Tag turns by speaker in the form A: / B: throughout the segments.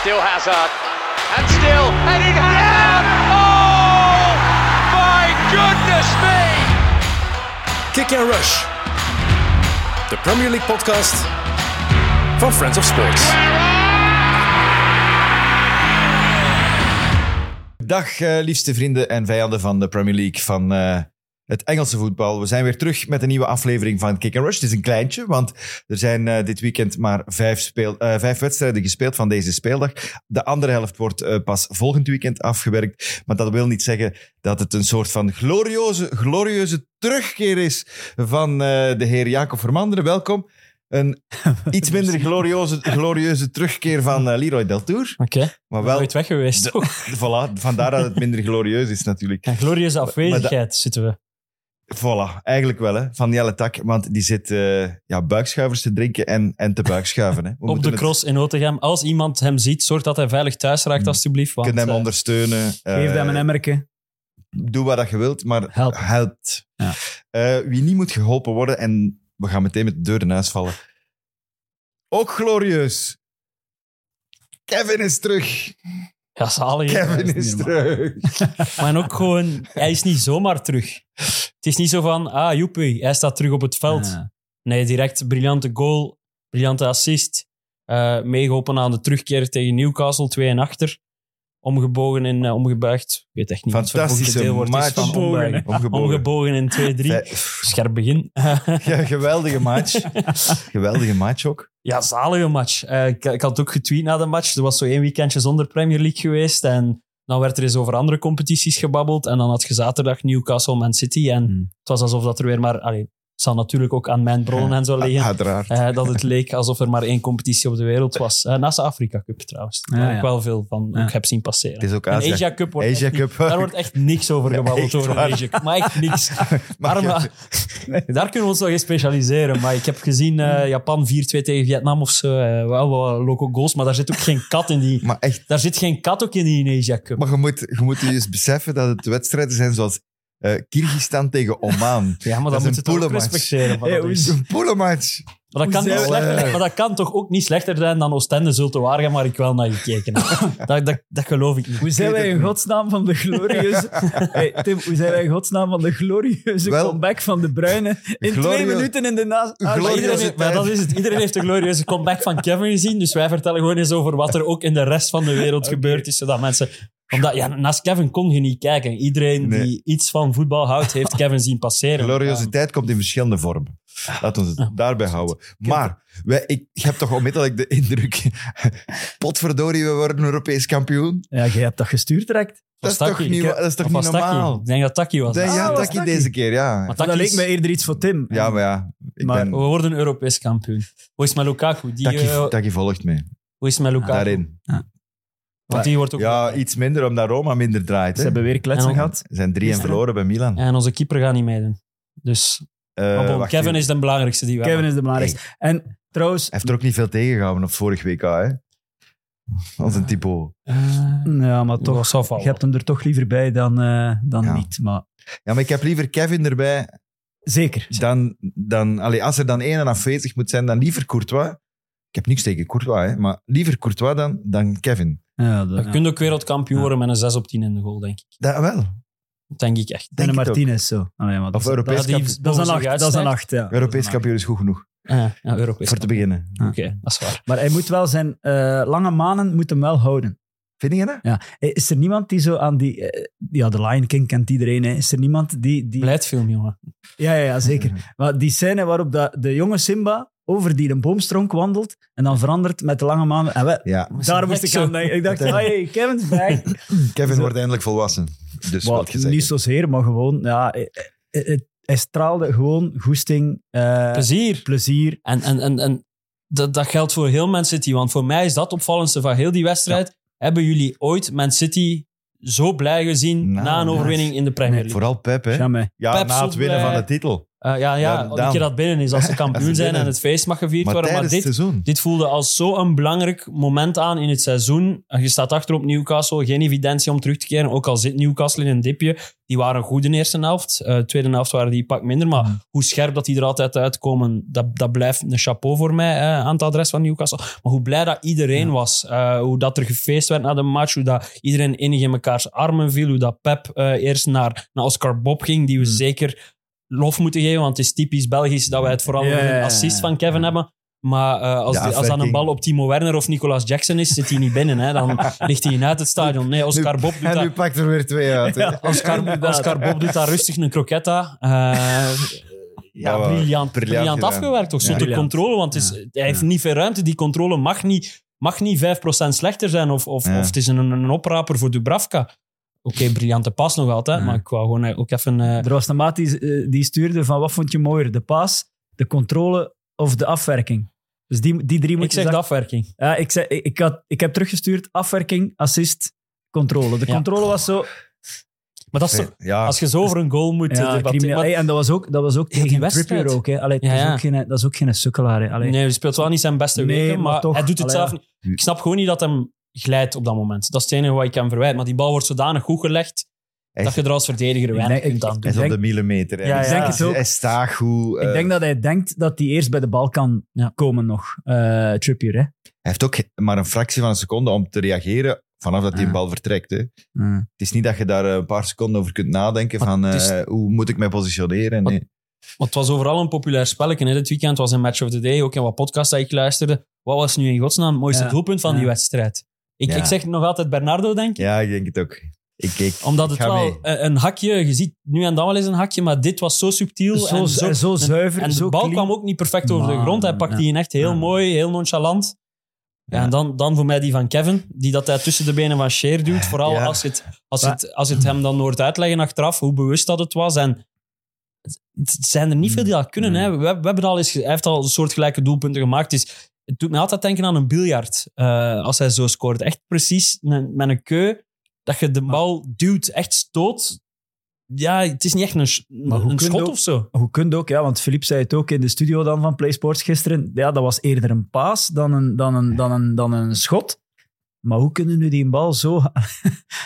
A: Still Hazard. And still heading Hazard. Oh, my goodness me.
B: Kick and Rush. De Premier League podcast van Friends of Sports.
C: Dag eh, liefste vrienden en vijanden van de Premier League van eh, het Engelse voetbal. We zijn weer terug met een nieuwe aflevering van Kick and Rush. Het is een kleintje, want er zijn eh, dit weekend maar vijf, speel, eh, vijf wedstrijden gespeeld van deze speeldag. De andere helft wordt eh, pas volgend weekend afgewerkt. Maar dat wil niet zeggen dat het een soort van glorieuze, glorieuze terugkeer is van eh, de heer Jacob Vermanderen. Welkom. Een iets minder glorieuze, glorieuze terugkeer van eh, Leroy Deltour.
D: Oké,
C: Maar wel
D: nooit weg geweest,
C: De-
D: toch?
C: Voilà, vandaar dat het minder glorieus is natuurlijk.
D: Een glorieuze afwezigheid zitten we.
C: Voilà, eigenlijk wel hè, van Jelle Tak, want die zit eh, ja, buikschuivers te drinken en, en te buikschuiven. Hè. We
D: Op
C: moeten
D: de
C: het-
D: cross in Otegem. Als iemand hem ziet, zorg dat hij veilig thuis raakt,
C: Mm.
D: alstublieft. Want,
C: kunnen hem
D: eh,
C: ondersteunen.
E: Geef
C: eh,
E: hem een emmerke.
C: doe wat dat je wilt, maar
D: Help.
C: helpt.
E: Ja.
C: Eh, wie niet moet geholpen worden, en we gaan meteen met de deur in huis vallen. Ook glorieus. Kevin is terug.
D: Ja, zalig.
C: Kevin
E: niet
C: is
E: normaal.
C: terug.
D: Maar ook gewoon, hij is niet zomaar terug. Het is niet zo van, ah, joepie, hij staat terug op het veld.
E: Ah.
D: Nee, direct briljante goal, briljante assist. eh meegeholpen aan de terugkeer tegen Newcastle, 2 en achter. Omgebogen en eh, omgebuigd. Ik weet echt niet wat het
C: Fantastische
D: vervloekte deelwoord is
C: match.
D: van
E: Ombogen,
D: ombuigen.
C: Omgebogen.
D: Omgebogen in 2-3. Scherp begin.
C: Ja, geweldige match. geweldige match ook.
D: Ja, zalige match. Eh, ik, ik had ook getweet na de match. Er was zo één weekendje zonder Premier League geweest. En dan werd er eens over andere competities gebabbeld. En dan had je zaterdag Newcastle, Man City. En
E: Hmm.
D: het was alsof dat er weer maar... Allee, het zal natuurlijk ook aan mijn bronnen en zo liggen.
C: Ah, Uiteraard.
D: eh, dat het leek alsof er maar één competitie op de wereld was. Eh, naast de Afrika Cup trouwens. Daar
E: Ja,
D: heb ik
E: ja.
D: wel veel van
E: Ja.
D: ik heb zien passeren.
C: Ah, Het is ook
D: En
C: Azië.
D: Asia Cup wordt
C: Asia
D: echt niet-
C: Cup.
D: daar wordt echt niks over gebabbeld
C: Echt
D: over de
C: waar.
D: Asia Cup. Maar echt niks.
C: Maar
D: Arme- daar kunnen we ons wel in specialiseren. Maar ik heb gezien
C: Hmm.
D: eh, Japan 4-2 tegen Vietnam of zo. eh, wel wat loco goals, maar daar zit ook geen kat in die...
C: Maar echt,
D: Daar zit geen kat ook in die Indonesia Cup.
C: maar je moet, je moet je eens beseffen dat het wedstrijden zijn zoals eh Kyrgyzstan tegen Oman.
D: ja,
C: dat is
D: maar dan moet
C: een
D: je het ook
C: poelenmatch.
D: respecteren. Maar
E: Hey,
D: dat,
E: hoe
D: is-
E: is-
C: Een poelenmatch.
D: maar dat kan
E: hoe
D: niet
E: zijn we-
D: slechter, maar dat kan toch ook niet slechter zijn dan Oostende zult waar gaan, waar ik wel naar gekeken heb. dat, dat, dat geloof ik niet.
E: Hoe zijn wij in godsnaam van de glorieuze... Hey, Tim, hoe zijn wij in godsnaam van de glorieuze
C: Wel-
E: comeback van de Bruyne in
C: Glorie-
E: twee minuten in de naast... Ah,
D: Maar iedereen,
C: Glorieuze
D: heeft- maar dat is het. Iedereen heeft de glorieuze comeback van Kevin gezien. Dus wij vertellen gewoon eens over wat er ook in de rest van de wereld gebeurd is. Zodat mensen. Omdat, ja, naast Kevin kon je niet kijken. Iedereen
C: Nee.
D: die iets van voetbal houdt, heeft Kevin zien passeren.
C: Gloriositeit komt in verschillende vormen. Laten we
E: Ah.
C: het daarbij houden. Maar wij, ik, ik heb toch onmiddellijk de indruk... Potverdorie, we worden Europees kampioen.
E: Ja, jij hebt dat gestuurd direct.
C: Dat is toch niet, dat is toch
D: Of
C: niet
D: was Taki?
C: normaal?
D: Ik denk dat Taki was.
C: Dat-
E: Ah,
C: ja,
E: was
C: Taki
E: Taki.
C: deze keer, ja.
D: Maar
E: Dat
D: Taki
E: leek
D: is-
E: mij eerder iets voor Tim.
C: Ja, maar ja. Ik
E: Maar-
D: We
C: ben,
D: worden Europees kampioen. Hoe is het met Lukaku? Die, eh,
C: Taki, Taki volgt mee.
D: hoe is het met Lukaku?
C: Daarin.
D: Want die wordt ook.
C: Ja, iets minder, omdat Roma minder draait.
E: Ze
C: Hè.
E: hebben weer kletsen
D: En-
E: gehad.
C: Ze zijn drie en verloren bij Milan.
D: En onze keeper gaat niet meedoen. Dus
C: Eh,
D: maar bon,
C: wacht
D: Kevin
C: even.
D: is de belangrijkste die we
E: Kevin
D: hebben.
E: is de belangrijkste. En trouwens...
C: Hij heeft er ook niet veel tegengehouden op vorig WK, hè? Als een typo.
D: Eh,
E: Ja, maar
D: dat
E: toch...
D: zal vallen.
E: Je hebt hem er toch liever bij dan, eh, dan
C: Ja.
E: niet. Maar
C: Ja, maar ik heb liever Kevin erbij
E: zeker.
C: dan... dan allee, als er dan één afwezig moet zijn, dan liever Courtois. Ik heb niks tegen Courtois, hè? maar liever Courtois dan, dan Kevin.
E: Ja, dat,
D: Eh, Je kunt ook wereldkampioen worden met een 6 op 10 in de goal, denk ik.
C: Dat wel.
D: Dat denk ik echt.
E: En
C: Denk
E: een
C: het ook.
E: Martinez zo. Allee, maar dat,
C: Of
E: is-
C: Europees
D: dat die-
C: kampioen.
E: dat is een
D: boven
E: acht.
D: zich
E: Dat is een
D: uitstijgt.
E: acht, ja.
C: Europees
E: Dat is een acht.
C: kampioen is goed genoeg,
D: Ja, Ah, ja, Europees.
C: voor Ah. te beginnen.
E: Ja.
D: Oké, dat is waar.
E: Maar hij moet wel zijn eh, lange manen moeten hem wel houden.
C: Vind je dat?
E: Eh, Is er niemand die zo aan die... eh, ja, de Lion King kent iedereen. Hè. Is er niemand die... die
D: Blijdfilm, jongen.
E: ja, ja, ja,
D: Mhm.
E: zeker. Maar die scène waarop dat de jonge Simba over die een boomstronk wandelt en dan verandert met de lange manen. En we,
C: Ja.
E: daar moest ik aan denken. Ik dacht, hey, Kevin's back.
C: Kevin
E: Zo.
C: wordt eindelijk volwassen. Dus
E: Wel,
C: wat gezegd.
E: niet zozeer, maar gewoon... Ja, eh, eh, eh, hij straalde gewoon goesting, eh,
D: Plezier.
E: plezier.
D: En, en, en, en dat, dat geldt voor heel Man City, want voor mij is dat opvallendste van heel die wedstrijd. Hebben jullie ooit Man City zo blij gezien
C: Nou,
D: na een
C: nee.
D: overwinning in de Premier League?
C: Vooral Pep, hè?
E: Jamais.
C: Ja,
D: Pep
C: na het
D: stond
C: winnen
D: bij-
C: van de titel.
D: Eh, ja,
C: Ja,
D: ja,
C: dan.
D: een keer dat binnen is, als ze kampioen
C: Als ze
D: zijn en
C: binnen.
D: het feest mag gevierd
C: Maar
D: worden. Maar
C: tijdens het
D: dit,
C: seizoen.
D: dit voelde als zo'n belangrijk moment aan in het seizoen. Je staat achter op Newcastle, geen evidentie om terug te keren. Ook al zit Newcastle in een dipje. Die waren goed in de eerste helft. Eh, tweede helft waren die een pak minder. Maar
E: Mm.
D: hoe scherp dat die er altijd uitkomen, dat, dat blijft een chapeau voor mij eh, aan het adres van Newcastle. Maar hoe blij dat iedereen was. eh, hoe dat er gefeest werd na de match. Hoe dat iedereen enig in mekaars armen viel. Hoe dat Pep eh, eerst naar, naar Oscar Bob ging,
E: Mm.
D: die we zeker lof moeten geven. Want het is typisch Belgisch dat wij het vooral
E: Ja,
D: over
E: ja,
D: een
E: ja,
D: assist
E: ja.
D: van Kevin hebben. Maar eh, als,
C: Ja,
D: die- als dan een
C: afwerking.
D: bal op Timo Werner of Nicolas Jackson is, zit hij niet binnen. Hè? Dan ligt hij uit het stadion. Nee, Oscar Bob doet
C: En
D: dat.
C: nu pakt er weer twee uit. hè.
D: Oscar, Oscar Bob doet daar rustig een croquetta. Eh, ja,
C: Ja, wel.
D: briljant, briljant
C: Oh, gedaan.
D: afgewerkt. Toch?
C: Ja.
D: Zo de
E: Briljant.
D: controle, want het is, hij heeft niet veel ruimte. Die controle mag niet, mag niet 5% slechter zijn. Of, of,
C: Ja.
D: of het is een, een opraper voor Dubravka. Oké, briljante pas nog altijd.
C: Ja.
D: Maar ik wou gewoon eh, ook even... eh,
E: Er was een maat die, eh, die stuurde van wat vond je mooier, de paas, de controle of de afwerking? Dus die, die drie
D: ik
E: moeten
D: zeg de afwerking.
E: Ja, ik, zei, ik, ik had, ik heb teruggestuurd afwerking, assist, controle. De
D: Ja.
E: controle was zo...
D: Maar dat is toch-
C: Ja,
D: als je zo over een goal moet eh,
E: Ja,
D: debatteren-
E: crimineel.
D: maar-
E: Hey, en dat was ook, dat was ook
D: Heel die
E: tegen
D: wedstrijd.
E: Trippier ook. Hè. Allee, het
D: Ja,
E: is
D: ja.
E: ook geen, dat is ook geen sukkelaar. Hè. Allee.
D: Nee, hij speelt wel niet zijn beste
E: Nee,
D: weken, maar,
E: maar toch.
D: hij doet het
E: Allee,
D: zelf
E: ja.
D: niet. Ik snap gewoon niet dat hem glijdt op dat moment. Dat is het enige wat ik hem verwijt. Maar die bal wordt zodanig goed gelegd
C: Echt.
D: dat je er als verdediger
E: Ik
D: weinig
E: denk-
D: kunt aan
C: hij
D: doen.
C: is op
E: denk-
C: de millimeter. hè.
E: Ja,
C: Hij
E: ik denk
C: staat-
E: het ook.
C: Hij staat goed. eh,
E: Ik denk dat hij denkt dat hij eerst bij de bal kan
D: Ja.
E: komen nog. eh Trippier, hè.
C: Hij heeft ook maar een fractie van een seconde om te reageren vanaf dat die
D: Ah.
E: Ja.
C: bal vertrekt. Hè. Het
E: Ja.
C: is niet dat je daar eh, een paar seconden over kunt nadenken
D: Maar
C: van
D: het is-
C: eh, hoe moet ik mij positioneren.
D: Wat-
C: Nee.
D: Maar het was overal een populair spelletje. Hè. Dit weekend was een match of the day. Ook in wat podcasts dat ik luisterde. Wat was nu in godsnaam het mooiste
E: Ja.
D: doelpunt van die
E: Ja.
D: wedstrijd? Ik,
C: Ja.
D: ik zeg nog altijd Bernardo, denk ik.
C: Ja, ik denk het ook. Ik, ik,
D: Omdat
C: ik
D: het
C: ga
D: wel
C: mee.
D: een, een hakje... Je ziet nu en dan wel eens een hakje, maar dit was zo subtiel.
E: Zo,
D: en
E: zo,
D: zo
E: zuiver,
D: En
E: zo
D: de bal
E: clean.
D: kwam ook niet perfect over de
E: Maar,
D: grond. Hij pakte
E: ja.
D: die in echt heel
E: Ja.
D: mooi, heel nonchalant. Ja,
C: Ja.
D: en dan, dan voor mij die van Kevin, die dat hij tussen de benen van Sheer duwt. Vooral
C: Ja.
D: als, het, als, het, als het hem dan hoort uitleggen achteraf, hoe bewust dat het was. En het- het zijn er niet veel die dat kunnen.
E: Mm.
D: Hè. We, we hebben al eens, ge- hij heeft al soortgelijke doelpunten gemaakt. Het, is, het doet me altijd denken aan een biljart, eh, als hij zo scoort. Echt precies een- met een keu, dat je de bal duwt, echt stoot. Ja, het is niet echt een, sch-
E: Maar hoe
D: een
E: kun je
D: schot
E: ook-
D: of zo.
E: Hoe kun je ook, ja, want Filip zei het ook in de studio dan van PlaySports gisteren. Ja, dat was eerder een paas dan een, dan een, dan een, dan een schot. Maar hoe kunnen nu die bal zo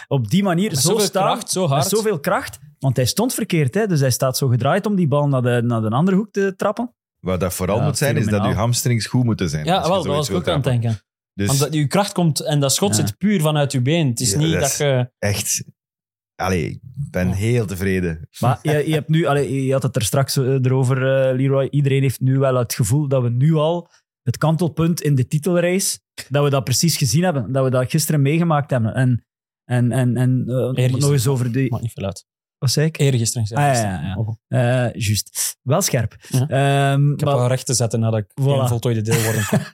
E: op die manier
D: Met
E: zo
D: zoveel
E: staan?
D: kracht, zo
E: met
D: hard.
E: zoveel kracht. Want hij stond verkeerd, hè? dus hij staat zo gedraaid om die bal naar de, naar de andere hoek te trappen.
C: Wat dat vooral
E: Ja,
C: moet zijn, is dat
E: fenomenaal.
C: je hamstrings goed moeten zijn. als
D: Ja,
C: je
D: wel, dat
C: zoiets
D: was ik ook
C: wilt
D: aan het
C: trappen.
D: denken.
C: Dus
D: Want dat, je kracht komt en dat schot
E: Ja.
D: zit puur vanuit je been. Het is
C: Ja,
D: niet
C: dat
D: dat,
C: is-
D: je...
C: echt, allee, ik ben heel tevreden.
E: Maar je, je, hebt nu, allee, je had het er straks eh, erover, eh, Leroy. Iedereen heeft nu wel het gevoel dat we nu al het kantelpunt in de titelrace, dat we dat precies gezien hebben. Dat we dat gisteren meegemaakt hebben. En, en, en, en eh, om het nog eens over die...
D: Maakt niet veel uit.
E: Wat zei ik?
D: Eergisteren.
E: Ah, ja,
D: zei ik.
E: ja, ja. Eh, juist. Wel scherp.
D: Ja.
E: Ehm,
D: Ik heb
E: maar
D: wel recht te zetten nadat ik
E: Voilà.
D: geen voltooide deel word.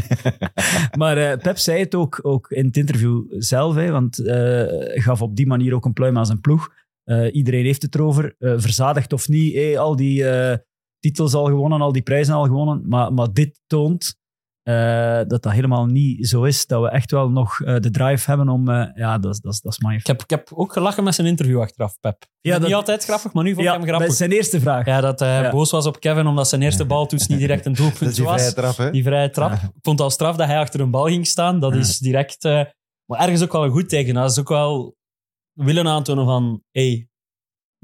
E: maar eh, Pep zei het ook, ook in het interview zelf, hè, want eh, gaf op die manier ook een pluim aan zijn ploeg. Eh, iedereen heeft het erover, eh, verzadigd of niet. eh, al die eh, titels al gewonnen, al die prijzen al gewonnen. Maar, maar dit toont eh, dat dat helemaal niet zo is. Dat we echt wel nog eh, de drive hebben om... eh, ja, dat, is- dat, is- dat is mijn...
D: ik, heb, ik heb ook gelachen met zijn interview achteraf, Pep.
E: Ja, dat-
D: Niet altijd grappig, maar nu vond ik hem
E: dat
D: grappig.
E: is zijn eerste vraag.
D: Ja, dat eh, hij
E: Ja.
D: boos was op Kevin omdat zijn eerste baltoets niet direct een doelpunt
C: Dat is die
D: was.
C: vrije trap, hè?
D: Die vrije trap. Ik vond het al straf dat hij achter een bal ging staan. Dat
E: Ja.
D: is direct... eh, maar ergens ook wel een goed teken. Dat is ook wel willen aantonen van... hey, ik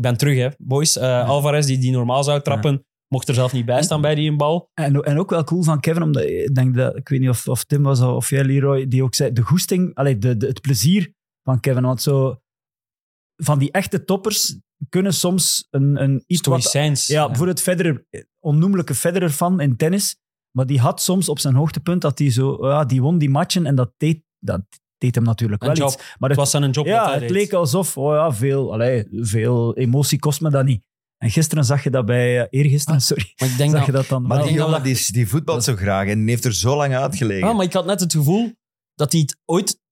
D: ben terug, hè, boys. Eh, Alvarez, die, die normaal zou trappen, mocht er zelf niet bij staan bij die een bal.
E: En, en ook wel cool van Kevin, omdat ik denk dat, ik weet niet of, of Tim was of of jij, Leroy, die ook zei, de goesting, allee, de, de- het plezier van Kevin. Want zo, van die echte toppers kunnen soms een, een iets wat...
D: Stoïcijns.
E: Ja, bijvoorbeeld Federer, onnoemelijke Federer fan in tennis, maar die had soms op zijn hoogtepunt dat hij zo, ja, die won die matchen en dat deed, dat deed hem natuurlijk
D: Een
E: wel
D: job.
E: iets. Maar
D: Het
E: het,
D: was dan een job dat
E: ja,
D: hij
E: het
D: deed.
E: leek alsof, oh ja, veel, allee, veel emotie kost me dat niet. En gisteren zag je dat bij, eh, eergisteren, sorry,
D: Maar Ah. ik denk
E: zag je
D: dat...
E: dat dan...
C: Maar
D: ik
C: die
D: denk dat
C: jongen
D: dat-
C: die, die voetbalt zo graag en die heeft er zo lang uitgelegen.
D: Ja, Ah, maar ik had net het gevoel dat hij het ooit...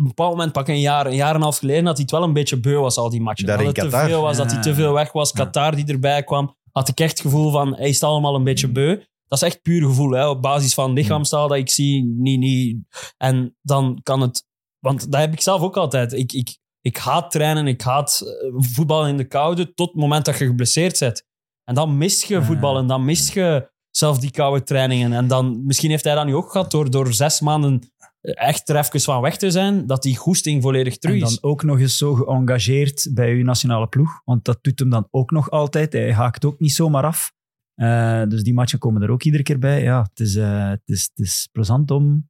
D: Op een bepaald moment, pak een jaar, een jaar en een half geleden, dat hij het wel een beetje beu was, al die matchen.
C: Daar
D: dat
C: in
D: het te
C: Qatar.
D: veel was, dat
E: Ja.
D: hij te veel weg was.
E: Ja.
D: Qatar die erbij kwam, had ik echt het gevoel van, hij is het allemaal een
C: Mm.
D: beetje beu. Dat is echt puur gevoel, hè, op basis van lichaamstaal dat ik zie. Niet, niet. En dan kan het... Want dat heb ik zelf ook altijd. Ik, ik, ik haat trainen, ik haat eh, voetbal in de koude, tot het moment dat je geblesseerd bent. En dan mist je
E: Ja.
D: voetbal en dan mist je zelf die koude trainingen. En dan, misschien heeft hij dat nu ook gehad door, door zes maanden eh, echt er even van weg te zijn, dat die goesting volledig terug
E: En dan
D: is.
E: ook nog eens zo geëngageerd bij uw nationale ploeg. Want dat doet hem dan ook nog altijd. Hij haakt ook niet zomaar af. Eh, dus die matchen komen er ook iedere keer bij. Ja, het is, eh, het is, het is plezant om,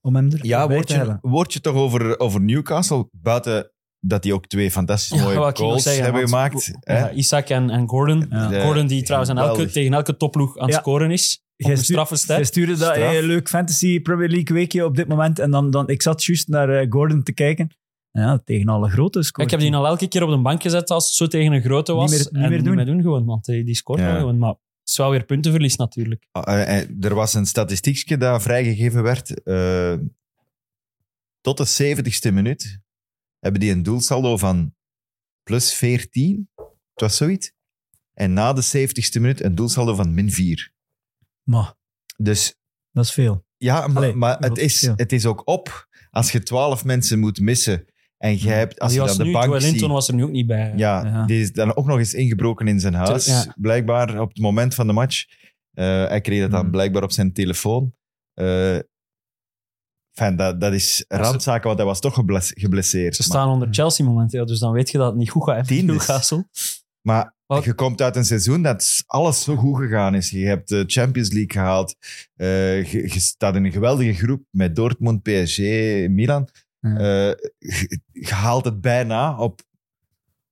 E: om hem er
C: Ja,
E: bij te
C: woordje,
E: hebben.
C: woordje toch over, over Newcastle. Buiten dat die ook twee fantastisch
D: Ja,
C: mooie
D: wou ik nog
C: goals
D: zeggen,
C: hebben
D: want-
C: gemaakt. hè?
D: Ja, Isaac en, en Gordon.
E: Ja.
C: De-
D: Gordon die trouwens aan elke,
C: geweldig.
D: tegen elke topploeg aan het
E: Ja.
D: scoren is. Op
E: Jij
D: een
E: stu-
D: straffe
E: Jij
D: stijl.
E: stuurde dat
C: Straf.
E: hey, leuk Fantasy Premier League weekje op dit moment. En dan, dan, ik zat juist naar eh, Gordon te kijken. Ja, tegen alle grote
D: Ik
E: scoort.
D: heb die al elke keer op de bank gezet als het zo tegen een grote was.
E: Niet meer- niet
D: en
E: meer doen.
D: Niet meer doen gewoon, want eh, die scoort
C: Ja.
D: wel gewoon. Maar het is wel weer puntenverlies natuurlijk.
C: Eh, eh, er was een statistiekje dat vrijgegeven werd. eh, tot de 70ste minuut hebben die een doelsaldo van plus 14. Het was zoiets. En na de 70ste minuut een doelsaldo van min 4.
E: Maar,
C: Dus
E: dat is veel.
C: ja, maar,
E: Allee,
C: maar het,
E: wat
C: is,
E: verschil.
C: het is ook op als je 12 mensen moet missen. En je hebt, als
D: die
C: je
D: was
C: dan de
D: nu,
C: bank
D: Joelinton
C: ziet...
D: was er nu ook niet bij.
C: Ja,
E: Ja.
C: die is dan ook nog eens ingebroken in zijn huis.
D: ja.
C: Blijkbaar op het moment van de match. Eh, hij kreeg dat dan
D: Mhm.
E: Hmm.
C: blijkbaar op zijn telefoon. Eh, Enfin, dat, dat is randzaken, want hij was toch gebles- geblesseerd.
D: Ze
C: Maar,
D: staan onder Chelsea momenteel, dus dan weet je dat het niet goed gaat.
C: Tiende.
D: Newcastle.
C: maar
D: Wat?
C: je komt uit een seizoen dat alles zo goed gegaan is. Je hebt de Champions League gehaald. Eh, je, je staat in een geweldige groep met Dortmund, PSG, Milan.
E: Ja.
C: Eh, je, je haalt het bijna op,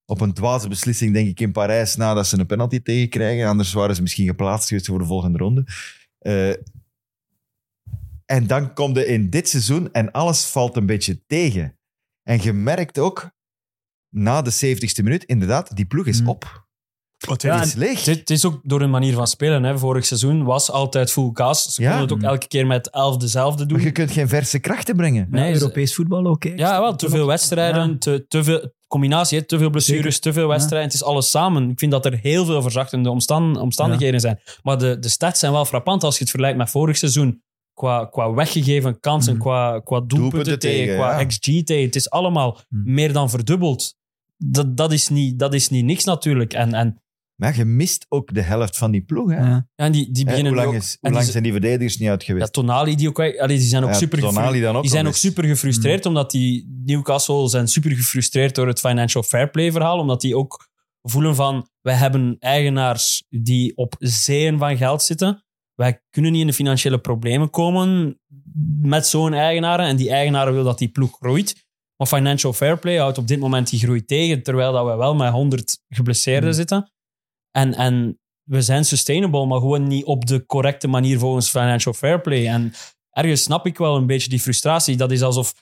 C: op een dwaze beslissing, denk ik, in Parijs nadat ze een penalty tegenkrijgen. Anders waren ze misschien geplaatst geweest voor de volgende ronde. Eh, en dan komt je in dit seizoen en alles valt een beetje tegen. En je merkt ook na de 70ste minuut, inderdaad, die ploeg is
E: Hmm.
C: op.
D: Wat
C: Die is leeg.
D: Het, het is ook door hun manier van spelen. Hè. Vorig seizoen was altijd full cast. Ze
C: Ja.
D: konden het
E: Mm.
D: ook elke keer met elf dezelfde
C: Maar
D: doen.
C: je kunt geen verse krachten brengen.
E: Ja,
D: Nee, ze-
E: Europees voetbal ook. hè.
D: Ja, wel, te veel wedstrijden,
E: Ja.
D: te, te veel combinatie, hè. te veel blessures,
E: Zeker.
D: te veel wedstrijden. Het is alles samen. Ik vind dat er heel veel verzachtende omstan- omstandigheden zijn. Maar de, de stats zijn wel frappant als je het vergelijkt met vorig seizoen. Qua, qua weggegeven kansen,
E: Mhm.
D: qua, qua doelpunten,
C: Mm. Doelpunten
D: tegen,
C: tegen,
D: qua
C: ja. Mm.
D: XG tegen. Het is allemaal
E: Mhm.
D: meer dan verdubbeld. Dat, dat, is niet, dat is niet niks natuurlijk. En, en,
C: Maar je mist ook de helft van die ploeg. Hè?
E: Ja.
D: ja, en die, die
C: Hè,
D: beginnen
C: hoe
D: nu
C: lang,
D: ook-
C: is,
D: en
C: hoe
D: die
C: lang
D: z-
C: zijn die verdedigers niet uitgeweest?
D: Ja, Tonali die ook kwijt- allee, die zijn ook
C: Ja,
D: super gefru-
C: Tonali dan ook
D: Die zijn
C: nog
D: ook
C: eens. Hmm.
D: super gefrustreerd, omdat die Newcastle zijn super gefrustreerd door het financial fair play verhaal, omdat die ook voelen van, wij hebben eigenaars die op zeeën van geld zitten, wij kunnen niet in de financiële problemen komen met zo'n eigenaar en die eigenaar wil dat die ploeg groeit. Maar financial fair play houdt op dit moment die groei tegen, terwijl dat we wel met 100 geblesseerden
E: Hmm.
D: zitten. En, en we zijn sustainable, maar gewoon niet op de correcte manier volgens financial fair play. En ergens snap ik wel een beetje die frustratie. Dat is alsof.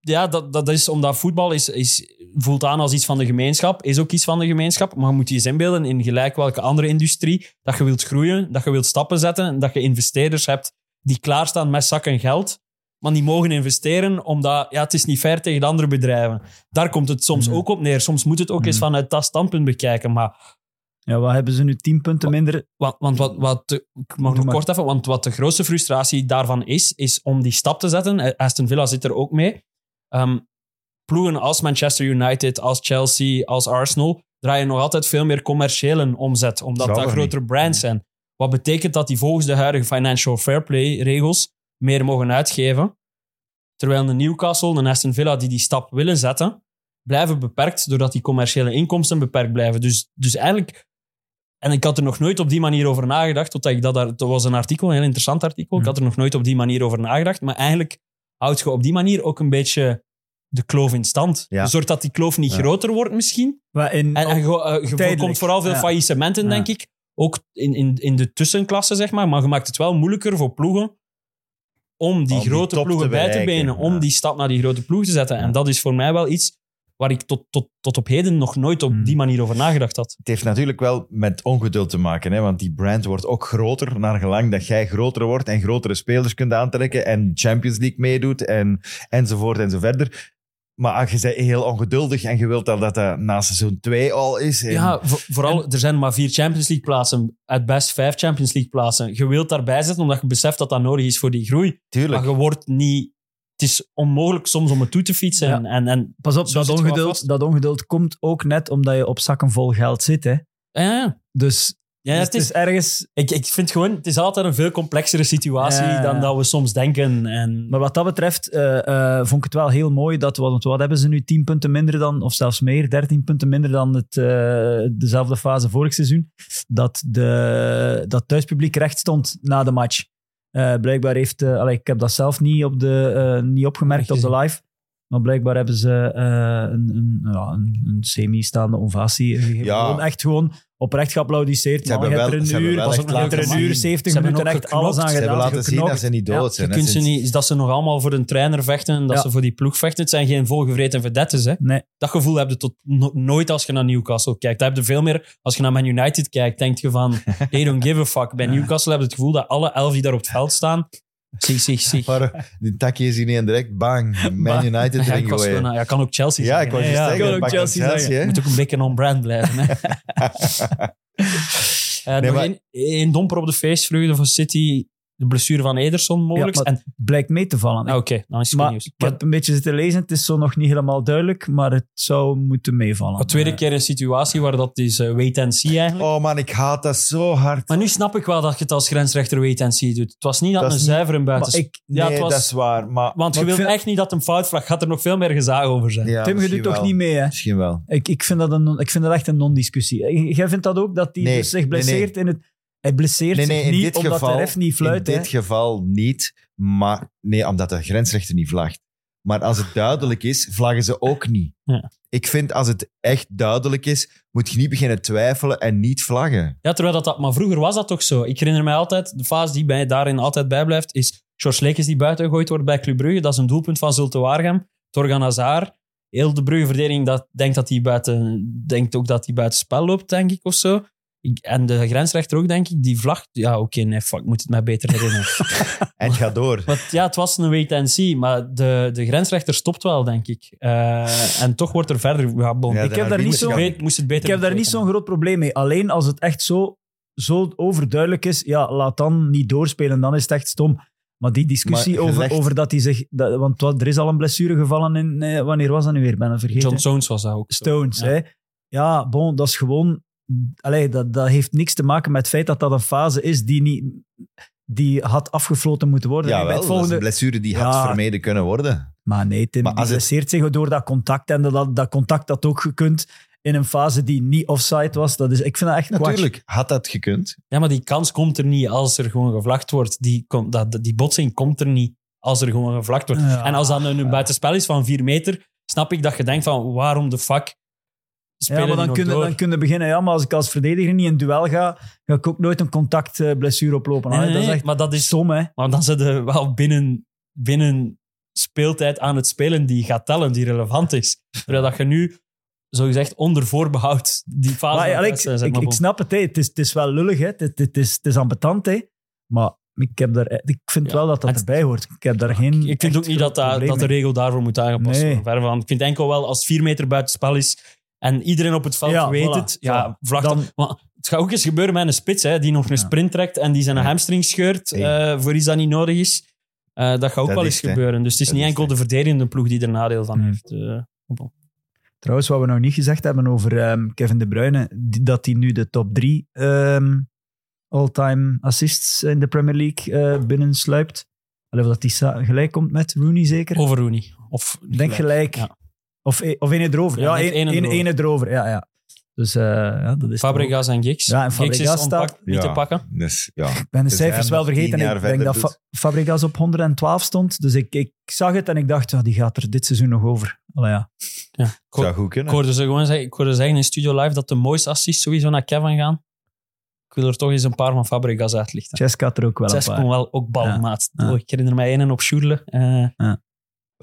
D: Ja, dat, dat is omdat voetbal is, is, voelt aan als iets van de gemeenschap, is ook iets van de gemeenschap. Maar je moet je eens inbeelden in gelijk welke andere industrie dat je wilt groeien, dat je wilt stappen zetten en dat je investeerders hebt die klaarstaan met zakken geld, maar die mogen investeren omdat ja, het is niet fair tegen de andere bedrijven. Daar komt het soms
E: Mhm.
D: ook op neer. Soms moet het ook eens
E: Mhm.
D: vanuit dat standpunt bekijken. Maar
E: Ja, wat hebben ze nu? 10 punten minder.
D: want, want wat, wat de, ik mag nog
E: Doe maar.
D: kort even, want wat de grootste frustratie daarvan is, is om die stap te zetten. Eh, Aston Villa zit er ook mee. Ehm, ploegen als Manchester United, als Chelsea, als Arsenal draaien nog altijd veel meer commerciële omzet, omdat
C: Zal
D: dat
C: er
D: grotere brands zijn. Wat betekent dat die volgens de huidige financial fair play regels meer mogen uitgeven. Terwijl een Newcastle en Aston Villa die die stap willen zetten, blijven beperkt doordat die commerciële inkomsten beperkt blijven. Dus, dus eigenlijk, en ik had er nog nooit op die manier over nagedacht, totdat ik dat daar, dat was een artikel, een heel interessant artikel, ik had er nog nooit op die manier over nagedacht, maar eigenlijk houd je op die manier ook een beetje de kloof in stand.
C: Ja.
D: Zorg dat die kloof niet
C: Ja.
D: groter wordt misschien.
E: Maar in,
D: En, en je, eh, je
E: Tijdelijk.
D: voorkomt vooral veel
E: Ja.
D: faillissementen,
E: Ja.
D: denk ik. Ook in, in, in de tussenklasse, zeg maar. Maar je maakt het wel moeilijker voor ploegen om die
C: Om die
D: grote
C: top
D: ploegen
C: te
D: bij te
C: bereiken,
D: benen. Om
C: ja.
D: die stap naar die grote ploeg te zetten. En dat is voor mij wel iets waar ik tot, tot, tot op heden nog nooit op
E: Hmm.
D: die manier over nagedacht had.
C: Het heeft natuurlijk wel met ongeduld te maken, hè? want die brand wordt ook groter naar gelang dat jij groter wordt en grotere spelers kunt aantrekken en Champions League meedoet en, enzovoort enzoverder. Maar ah, je bent heel ongeduldig en je wilt al dat dat na seizoen 2 al is. En
D: Ja, vo- vooral, er zijn maar vier Champions League plaatsen. Uit best vijf Champions League plaatsen. Je wilt daarbij zitten omdat je beseft dat dat nodig is voor die groei.
C: tuurlijk.
D: Maar je wordt niet... Het is onmogelijk soms om het toe te fietsen.
E: Ja.
D: En, en, en,
E: pas op,
D: Zo
E: dat
D: zit je wel
E: ongeduld,
D: vast.
E: dat ongeduld komt ook net omdat je op zakken vol geld zit. Hè.
D: ja, ja.
E: Dus
D: Ja,
E: dus
D: het is,
E: ergens...
D: ik, ik vind gewoon, het is altijd een veel complexere situatie
E: Ja.
D: dan dat we soms denken. En,
E: Maar wat dat betreft eh, eh, vond ik het wel heel mooi dat... we- Want wat hebben ze nu? 10 punten minder dan, of zelfs meer, 13 punten minder dan het, eh, dezelfde fase vorig seizoen. Dat, de, dat thuispubliek recht stond na de match. Eh, blijkbaar heeft... eh, allee, ik heb dat zelf niet, op de, eh, niet opgemerkt op de live. Maar blijkbaar hebben ze eh, een, een, ja, een, een semi-staande ovatie gegeven.
C: Ja.
E: Gewoon echt gewoon oprecht geapplaudisseerd.
C: Ze
E: Man,
C: hebben
E: je hebt
C: wel-
E: er
C: ze
E: een
C: hebben
E: uur,
C: wel
E: pas
C: echt
E: op, je hebt er
D: laten
E: een uur,
D: zien.
E: 70
D: Ze hebben
E: minuten,
D: ook
E: echt alles aan
D: geknokt. Ze
E: gedaan.
C: Ze hebben laten zien dat
E: geknokt.
C: ze niet
E: Ja,
C: dood
D: je
C: zijn. hè,
D: kunt ze
C: sinds-
D: niet, is dat ze nog allemaal voor een trainer vechten en dat
E: Ja.
D: ze voor die ploeg vechten. Het zijn geen volgevreten vedettes. Hè.
E: Nee.
D: Dat gevoel heb je tot no- nooit als je naar Newcastle kijkt. Dat heb je veel meer als je naar Man United kijkt. Denk je van, they don't give a fuck. Bij Newcastle heb je het gevoel dat alle elf die daar op het veld staan, zich, zich, zich.
C: Maar die takje is hier niet en direct bang. Man
E: Bang.
C: United
D: Ja, ik
C: erin
D: was gewoon
C: gooien.
D: aan- ja, kan ook Chelsea
C: Ja,
D: zijn.
C: ik was dus
D: hè.
C: juist zeggen.
E: kan ook
C: pak dan
E: Chelsea zeggen.
C: hè.
D: Je moet ook een beetje on-brand blijven. Hè. Eh,
C: Nee,
D: nog
C: maar-
D: één, één domper op de feestvreugde van City. De blessure van Ederson mogelijk.
E: Ja, maar-
D: En-
E: Blijkt mee te vallen.
D: ah, Oké, dan is het goed
E: maar
D: nieuws.
E: ik heb een beetje zitten lezen. Het is zo nog niet helemaal duidelijk, maar het zou moeten meevallen.
D: Een tweede
E: Eh,
D: keer een situatie waar dat is eh, wait and see eigenlijk.
C: Oh man, ik haat dat zo hard.
D: Maar nu snap ik wel dat je het als grensrechter wait and see doet. Het was niet dat,
C: Dat
D: een
C: is
D: zuiver een buiten...
E: Maar ik,
D: ja,
C: nee,
D: het was-
C: dat is waar. Maar,
D: Want je
E: maar ik
D: wilt
E: vind-
D: echt niet dat een foutvlag gaat er nog veel meer gezaag over zijn.
C: Ja,
E: Tim, je doet
C: misschien
E: toch
C: wel.
E: niet mee, hè?
C: Misschien wel.
E: Ik, ik, vind dat een, non- ik vind dat echt een non-discussie. Eh, Jij vindt dat ook, dat hij
C: Nee,
E: dus zich blesseert
C: nee, nee.
E: in het... Hij blesseert
C: Nee, nee,
E: zich
C: in
E: niet
C: dit
E: omdat
C: geval-
E: de ref niet fluit.
C: In
E: hè.
C: dit geval niet. Maar nee, omdat de grensrechter niet vlagt. Maar als het duidelijk is, vlaggen ze ook niet.
D: Ja.
C: Ik vind als het echt duidelijk is, moet je niet beginnen twijfelen en niet vlaggen.
D: Ja, terwijl dat, dat... Maar vroeger was dat toch zo. Ik herinner mij altijd, de fase die bij, daarin altijd bijblijft, is George Lekes die buiten gegooid wordt bij Club Brugge. Dat is een doelpunt van Zulte Waregem. Torgan Hazard. Heel de Brugge-verdediging dat, denkt, dat hij buiten, denkt ook dat hij buiten spel loopt, denk ik, of zo. Ik- en de grensrechter ook, denk ik. Die vlag... Ja, oké, nee, fuck. Ik moet het mij beter herinneren.
C: En het gaat door.
D: Want ja, het was een wait and see, maar de, de grensrechter stopt wel, denk ik. Eh, en toch wordt er verder... Ja, bon.
C: Ja,
D: ik
C: de
E: heb daar niet
C: arbiter
E: zo-
C: kan-
D: weet, moest het beter
E: Ik heb daar niet zo'n
D: bekeken.
E: groot probleem mee. Alleen als het echt zo, zo overduidelijk is, ja, laat dan niet doorspelen, dan is het echt stom. Maar die discussie
C: Maar
E: over,
C: gelegd-
E: over dat hij zich... Dat, want wat- er is al een blessure gevallen in... eh, wanneer was dat nu weer? Ik Ben dat vergeten.
D: John Stones was dat ook. zo.
E: Stones,
D: Ja.
E: hè. Ja, bon, dat is gewoon... Allee, dat, dat heeft niks te maken met het feit dat dat een fase is die niet... Die had afgefloten moeten worden.
C: Ja,
E: En bij
C: wel.
E: het
C: Dat is een
E: volgende...
C: blessure die
E: Ja.
C: had vermeden kunnen worden.
E: Maar nee, Tim,
C: Maar
E: die
C: als het-
E: blesseert zich door dat contact. En dat, dat contact dat ook gekund in een fase die niet offside was. Dat is, ik vind dat echt kwatsch.
C: Natuurlijk, had dat gekund.
D: Ja, maar die kans komt er niet als er gewoon gevlakt wordt. Die, kom- dat, dat- die botsing komt er niet als er gewoon gevlakt wordt.
E: Ja.
D: En als dat een, een buitenspel is van vier meter, snap ik dat je denkt van, waarom de fuck spelen
E: Ja, maar dan kunnen, dan kunnen beginnen. Ja, maar als ik als verdediger niet in duel ga, ga ik ook nooit een contactblessure oplopen.
D: Nee,
E: Allee,
D: nee,
E: dat is
D: nee,
E: echt
D: maar dat is
E: stom, hè?
D: Maar dan zit je wel binnen, binnen speeltijd aan het spelen die gaat tellen, die relevant is. Terwijl dat je nu, zogezegd, onder voorbehoud die fase...
E: Maar,
D: aan het
E: allee,
D: uitzijn
E: ik,
D: bent.
E: ik, ik snap het, hè. Het, is, het is wel lullig, hè. Het, het, het is, het is ambetant, hè. Maar ik, heb daar, eh, ik vind
D: Ja.
E: wel dat dat
D: Het-
E: erbij hoort. Ik heb daar geen...
D: Ik vind ook
E: echt
D: niet dat,
E: groot
D: daar- dat
E: probleem
D: de
E: mee.
D: regel daarvoor moet aangepast
E: Nee.
D: worden. Verre van. Ik vind enkel wel, als het vier meter buiten spel is en iedereen op het veld
E: Ja,
D: weet
E: voilà.
D: het, ja, vlak
E: Dan-
D: dan... Maar het gaat ook eens gebeuren met een spits hè, die nog een
E: Ja.
D: sprint trekt en die zijn
C: Ja.
D: hamstring scheurt
C: Ja.
D: eh, voor iets dat niet nodig is. Eh, dat gaat ook
C: Dat is
D: wel eens
C: het, hè.
D: gebeuren. Dus het is
C: Dat
D: niet
C: is
D: enkel
C: het,
D: de verdedigende ploeg die er nadeel van
E: Hmm.
D: heeft. eh.
E: Trouwens, wat we nog niet gezegd hebben over ehm, Kevin De Bruyne, die- dat hij nu de top drie ehm, all-time assists in de Premier League eh binnensluipt. Allee, of dat hij gelijk komt met Rooney, zeker?
D: Over Rooney. Of
E: Ik denk gelijk.
D: Ja.
E: Of, e- of één erover.
D: Ja,
E: Ja,
D: net
E: één
D: één
E: één-
D: erover.
E: één erover. Ja, ja. Dus eh, ja, dat is...
D: Fabregas en Giggs.
E: Ja, en
D: Giggs
E: Fabregas
D: is ontpakt,
E: staat-
D: niet
C: Ja.
D: te pakken.
C: Dus ja,
E: Ik ben de
C: Dus
E: cijfers
C: hij
E: wel
C: nog tien
E: vergeten.
C: jaar
E: Ik denk
C: verder dus.
E: dat Fa- Fabregas op 112 stond. Dus ik, ik zag het en ik dacht, ja, die gaat er dit seizoen nog over. Allee, ja.
D: Ko-
C: zou goed
D: Ik
C: kunnen.
D: hoorde ze gewoon zeggen, ik hoorde zeggen in Studio Live dat de mooiste assists sowieso naar Kevin gaan. Ik wil er toch eens een paar van Fabregas uitlichten.
E: Cesc had er ook wel
D: Zes
E: een
D: kon
E: paar.
D: wel ook balmaat.
E: Ja.
D: Oh, ik herinner mij één op Sjoerle. Eh,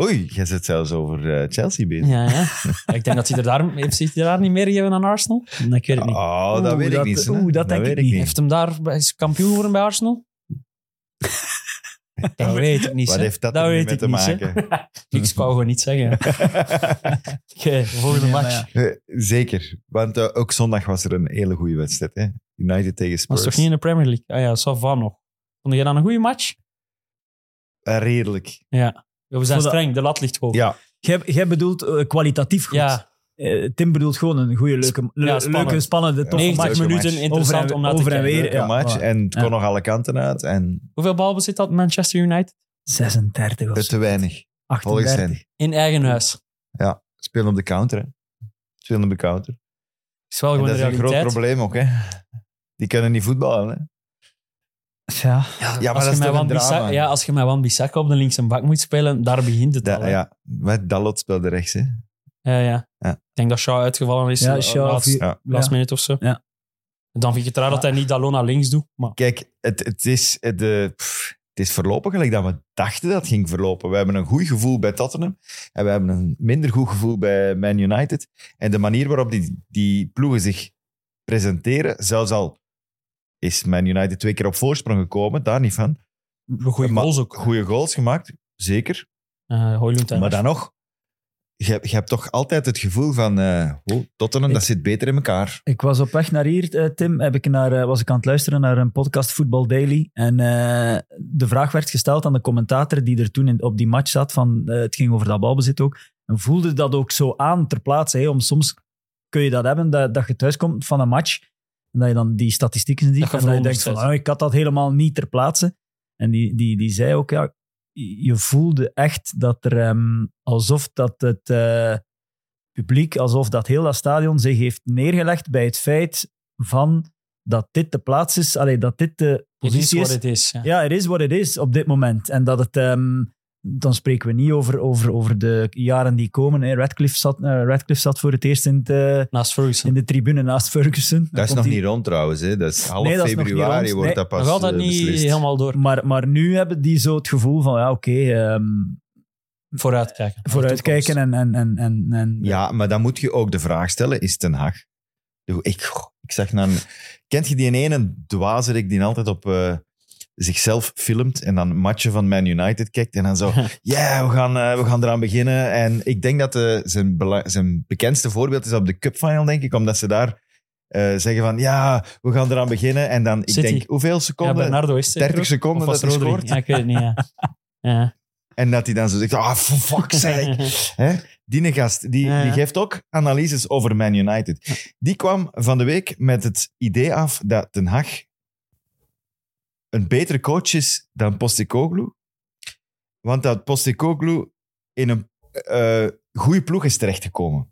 C: Oei, jij zit zelfs over eh, Chelsea bezig.
D: ja, ja. ik denk dat hij er daar, heeft hij er daar niet meer gegeven aan Arsenal. Nee, ik weet het niet.
C: Oh, dat
E: Oeh,
C: weet
E: dat-
C: ik niet. hè.
E: oeh, dat denk
C: weet
E: ik niet.
D: Heeft hem daar bij- is kampioen geworden bij Arsenal? dat weet ik niet.
C: Wat
D: hè.
C: heeft dat, er nu
D: weet
C: mee
D: ik
C: te
D: niet, hè.
C: maken?
D: Ik wou gewoon niet zeggen. Oké, volgende
E: Nee, maar
D: match.
E: ja.
C: Eh, Zeker, want eh, ook zondag was er een hele goede wedstrijd. Hè? United tegen
D: Maar
C: Spurs.
D: is toch niet in de Premier League? Ah ja, ça va nog. Vond je dan een goede match?
C: Eh, redelijk.
D: Ja, we zijn
E: Voor dat-
D: streng. De lat ligt hoog.
C: Ja,
E: Jij, jij bedoelt eh, kwalitatief goed.
D: Ja,
E: eh, Tim bedoelt gewoon een goede, leuke, le-
D: Ja, spannend.
E: leuke spannende, toffe
C: Ja,
D: 90
E: match.
C: leuke
D: minuten
C: match.
D: interessant
E: Over en-
D: om naar te
E: over en
D: kijken.
E: weer.
C: Leuke
E: ja,
C: match.
E: voilà.
C: En het kon
E: Ja.
C: nog alle kanten uit. En
D: Hoeveel balbezit had Manchester United?
E: 36 of
C: te
E: zo,
C: weinig, volgens
E: 38.
C: hen.
D: In eigen huis.
C: Spelen op de counter, hè. Spelen op de counter.
D: Is wel
C: En
D: gewoon
C: dat
D: de
C: is een groot
D: realiteit.
C: probleem ook, hè. Die kunnen niet voetballen, hè.
E: Ja,
C: Ja, maar dat
D: als, je
C: is
D: met
C: toch een
D: Wan
C: drama.
D: Bissaka, ja, als je met Wan Bissaka op de linkse bak moet spelen, daar begint het al.
C: Dat,
D: hè.
C: ja, wat Dalot speelde rechts, hè.
D: Ja, ja.
C: Ja.
D: Ik denk dat Shaw uitgevallen is.
E: Ja,
D: eh,
E: Shaw
D: laatst,
E: viel-
C: ja.
D: laatst
E: ja.
D: minute of zo.
E: Ja.
D: Dan vind ik het raar dat hij niet Dalot naar links doet. Maar
C: Kijk, het, het, is, het, eh, pff, het is voorlopig gelijk dat we dachten dat het ging verlopen. We hebben een goed gevoel bij Tottenham en we hebben een minder goed gevoel bij Man United. En de manier waarop die, die ploegen zich presenteren, zelfs al is Man United twee keer op voorsprong gekomen, daar niet van.
D: goede
C: Maar-
D: goals ook.
C: Goede goals gemaakt, zeker.
D: Eh, Højlund en-
C: Maar dan nog, je, hebt- je hebt toch altijd het gevoel van eh, oh, Tottenham, dat zit beter in elkaar.
E: ik was op weg naar hier, eh, Tim. Heb ik naar, eh, was ik aan het luisteren naar een podcast, Football Daily. En eh, de vraag werd gesteld aan de commentator die er toen in- op die match zat. Van, eh, het ging over dat balbezit ook. En voelde dat ook zo aan ter plaatse. hè, om soms kun je dat hebben, dat, dat je thuiskomt van een match. En dat je dan die statistieken ziet.
D: Dat je
E: en dat je denkt van,
D: veronderstelt.
E: "Ah, ik had dat helemaal niet ter plaatse. En die, die, die zei ook, ja, je voelde echt dat er ehm, alsof dat het eh, publiek, alsof dat heel dat stadion zich heeft neergelegd bij het feit van dat dit de plaats is, allee, dat dit de
D: Het is
E: positie
D: wat
E: is.
D: het is. Ja.
E: Ja, het is wat het is op dit moment. En dat het, ehm, dan spreken we niet over, over, over de jaren die komen. Hè. Radcliffe, zat, eh, Radcliffe zat voor het eerst in, het, eh,
D: Naast Ferguson.
E: in de tribune naast Ferguson. Dan
C: Dat is
E: komt
C: nog
E: die-
C: niet rond trouwens. Hè. Dat is half
E: Nee, dat is nog niet
C: februari
E: rond.
C: wordt
E: Nee,
C: dat pas
D: Nog altijd
C: eh,
D: niet
C: beslist.
D: helemaal door.
E: Maar, maar nu hebben die zo het gevoel van, ja, oké, ehm,
D: Vooruitkijken.
E: vooruitkijken en... en, en, en, en
D: eh,
C: Ja, maar dan moet je ook de vraag stellen, is Ten Hag... Doe, Ik, goh, ik zag naar... een- Kent je die ene dwazerik die altijd op eh, zichzelf filmt en dan matchen van Man United kijkt en dan zo... Ja, we, gaan, eh, we gaan eraan beginnen. En ik denk dat eh, zijn, bela- zijn bekendste voorbeeld is op de Cup Final, denk ik. Omdat ze daar eh, zeggen van... Ja, we gaan eraan beginnen. En dan, ik
D: City.
C: denk, hoeveel
D: Ja,
C: seconden?
D: Bernardo is zeker
C: 30
D: ook.
C: seconden
D: Of was
C: dat hij
D: Rodri?
C: scoort.
D: Ja, ik weet het niet, ja. ja.
C: En dat hij dan zo zegt... Ah, fuck, zeg. Hè? Die gast, die,
D: Ja, ja.
C: die geeft ook analyses over Man United. Die kwam van de week met het idee af dat Den Haag een betere coach is dan Postecoglou. Want dat Postecoglou in een eh goede ploeg is terechtgekomen.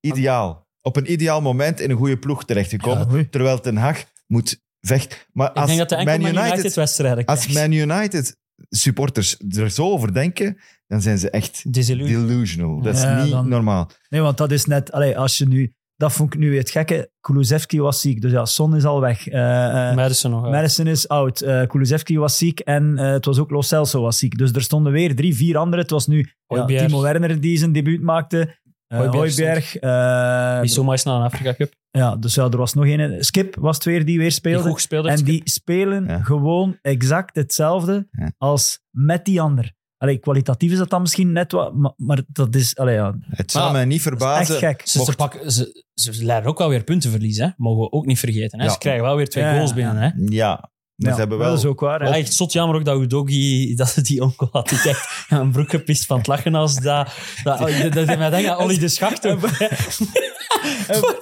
C: Ideaal. Op een ideaal moment in een goede ploeg terechtgekomen.
E: Ja, oei.
C: terwijl Den Haag moet vechten. Maar
D: Ik
C: als
D: denk dat de enkel Man
C: United-
D: United-wedstrijden
C: als Man United supporters er zo over denken, dan zijn ze echt
D: Disillusie.
C: delusional. Dat is
E: Ja,
C: niet
E: dan-
C: normaal.
E: Nee, want dat is net... Allee, als je nu... Dat vond ik nu weer het gekke. Kulusevski was ziek, dus ja, Son is al weg. Eh, eh,
D: Madison nog. uit.
E: Madison is oud. Eh Kulusevski was ziek en eh, het was ook Lo Celso was ziek. Dus er stonden weer drie, vier anderen. Het was nu ja,
D: Hojbjerg.
E: Timo Werner die zijn debuut maakte. eh
D: Hojbjerg
E: Hojbjerg. eh,
D: Bissouma is naar een Afrika Cup.
E: ja, dus ja, er was nog één. Skip was het weer die weer
D: Die
E: speelde.
D: goed gespeeld heeft.
E: en die spelen
C: Ja.
E: gewoon exact hetzelfde
C: Ja.
E: als met die ander. Allee, kwalitatief is dat dan misschien net wat, maar, maar dat is... Allee, ja,
C: Het zal
D: Maar-
C: mij niet
E: echt
C: verbazen.
E: gek.
D: Ze, ze,
C: Mocht-
D: pakken, ze, ze leiden ook wel weer puntenverlies, hè? mogen we ook niet vergeten. Hè?
C: Ja.
D: Ze krijgen wel weer twee
E: Ja.
D: goals binnen. Hè?
C: Ja, maar
E: Ja,
C: ze hebben wel.
E: Dat is ook waar. hè.
D: Ja, echt zot jammer ook dat Udogi dat ze die onkel had. Die echt een broek gepist van het lachen als dat... Dat, oh, dat, dat, deed mij denken aan Olly de Schacht. ook, hè.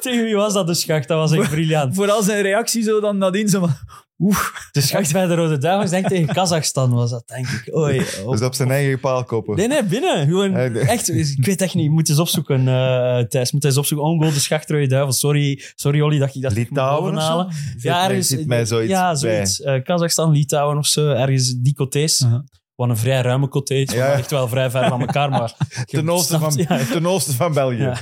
D: Tegen wie was dat de Schacht? Dat was echt briljant.
E: Vooral zijn reactie zo dan nadien. Zo van, oeh,
D: De Schacht bij de Rode Duivels, denk ik, tegen Kazachstan was dat, denk ik. Oei, oh.
C: Dus op zijn eigen paal kopen.
D: Nee, nee, binnen. Gewoon,
C: Nee, nee.
D: echt, ik weet echt niet. Moet eens opzoeken, eh Thijs. Moet eens opzoeken. Ongoal de Schacht, Rode Duivel. Sorry, sorry Olly, dat je dat niet
C: Litouwen of
D: bovenhalen. Ja,
C: mij-
D: ergens,
C: zit mij zoiets
D: Ja,
C: bij.
D: zoiets. Eh, Kazachstan, Litouwen of zo. Ergens die cotés.
E: Uh-huh.
D: Wat een vrij ruime coté.
C: Ja.
D: Ja. Ligt wel vrij ver van elkaar, maar... je
C: Ten oosten, van,
D: snapt- Ja,
C: ten oosten van België.
D: Ja.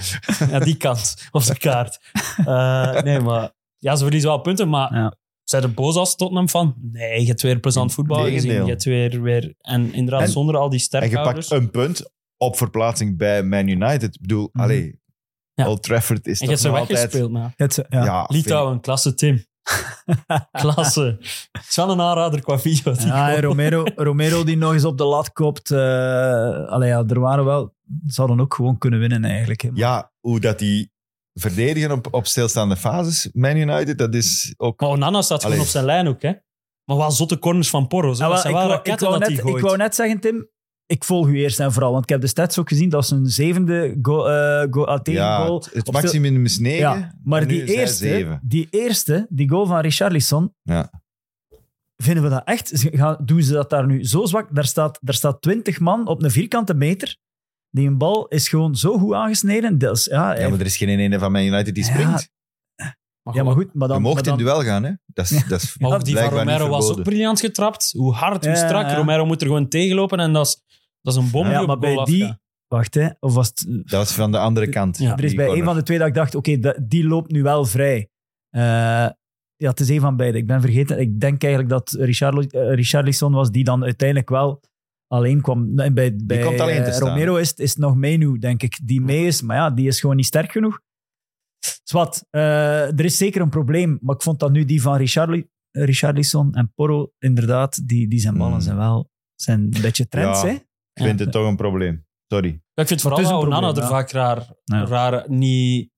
D: ja, die kant. Op de kaart. Eh, nee, maar... Ja, ze verliezen wel punten, maar...
E: Ja.
D: Zijn er boos als Tottenham van? Nee, je hebt weer plezant voetbal gezien.
C: Tegendeel.
D: Je hebt weer, weer... En inderdaad,
C: En-
D: zonder al die
C: En je
D: sterkhouders.
C: pakt een punt op verplaatsing bij Man United. Ik bedoel,
E: Mhm.
C: allee,
D: Ja.
C: Old Trafford is
D: En je hebt
C: toch
D: ze
C: nog altijd...
D: weggespeeld, nou.
E: het, ja.
C: Ja,
D: Litouwen, klasse Tim. klasse. Het is wel een aanrader qua video. die
E: Ja, en
D: goal.
E: Romero, Romero die nog eens op de lat kopt. eh allee, ja, er waren wel... Ze hadden ook gewoon kunnen winnen eigenlijk. hè.
C: vind ik- ja, hoe dat die verdedigen op, op stilstaande fases, Man United, dat is ook...
D: Maar Onana staat gewoon
C: Allee.
D: op zijn lijn ook, hè. Maar wat zotte corners van Porro.
E: Ah,
D: dat
E: wel,
D: zijn
E: ik,
D: wel
E: wou, ik,
D: raketten
E: wou
D: dat hij
E: net, ik
D: gooit.
E: wou net zeggen, Tim... ik volg u eerst en vooral. Want ik heb de stats ook gezien, dat was een zevende go, eh, go,
C: Ja,
E: goal.
C: het, het maximum is 9.
E: Ja, maar die eerste, die eerste, die goal van Richarlison,
C: Ja.
E: vinden we dat echt? Ze gaan- Doen ze dat daar nu zo zwak? Daar staat, daar staat 20 man op een vierkante meter. Die een bal is gewoon zo goed aangesneden. Dat is, ja,
C: Ja, maar er is geen ene van Man United die
E: Ja,
C: springt.
E: ja, maar goed. Maar dan,
C: je mocht
E: maar dan-
C: in duel gaan, hè? Dat is, dat is
D: Maar ook die van
C: blijkbaar niet
D: Romero was ook
C: verboden.
D: briljant getrapt. Hoe hard, hoe
E: Ja,
D: strak.
E: ja.
D: Romero moet er gewoon tegenlopen en dat is, dat is een bom. die
E: Ja,
D: op
E: maar
D: goal
E: bij die...
D: afgaat.
E: Wacht, hè. Of was het,
C: Dat was van de andere kant.
D: Ja.
E: er is bij een van de twee dat ik dacht, oké, da- die loopt nu wel vrij. Eh, ja, het is een van beide. Ik ben vergeten. Ik denk eigenlijk dat Richarlo- eh, Richarlison was die dan uiteindelijk wel alleen kwam. Nee, Bij, bij
C: komt alleen te
E: eh,
C: staan.
E: Romero is, het- is het nog Menu, denk ik, die mee is. Maar ja, die is gewoon niet sterk genoeg. Zwat, eh, er is zeker een probleem. Maar ik vond dat nu die van Richarli- Richarlison en Porro, inderdaad, die, die zijn ballen
C: Mm.
E: zijn wel zijn een beetje trends,
C: Ja.
E: hè?
C: Ik vind het toch een probleem. Sorry.
D: Ja, ik vind vooral
E: Het
D: dat
E: is een
D: Onana
E: probleem,
D: er
E: ja.
D: vaak raar,
E: Ja.
D: raar niet,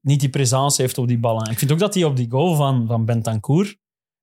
D: niet die presence heeft op die ballen. Ik vind ook dat hij op die goal van, van Bentancourt...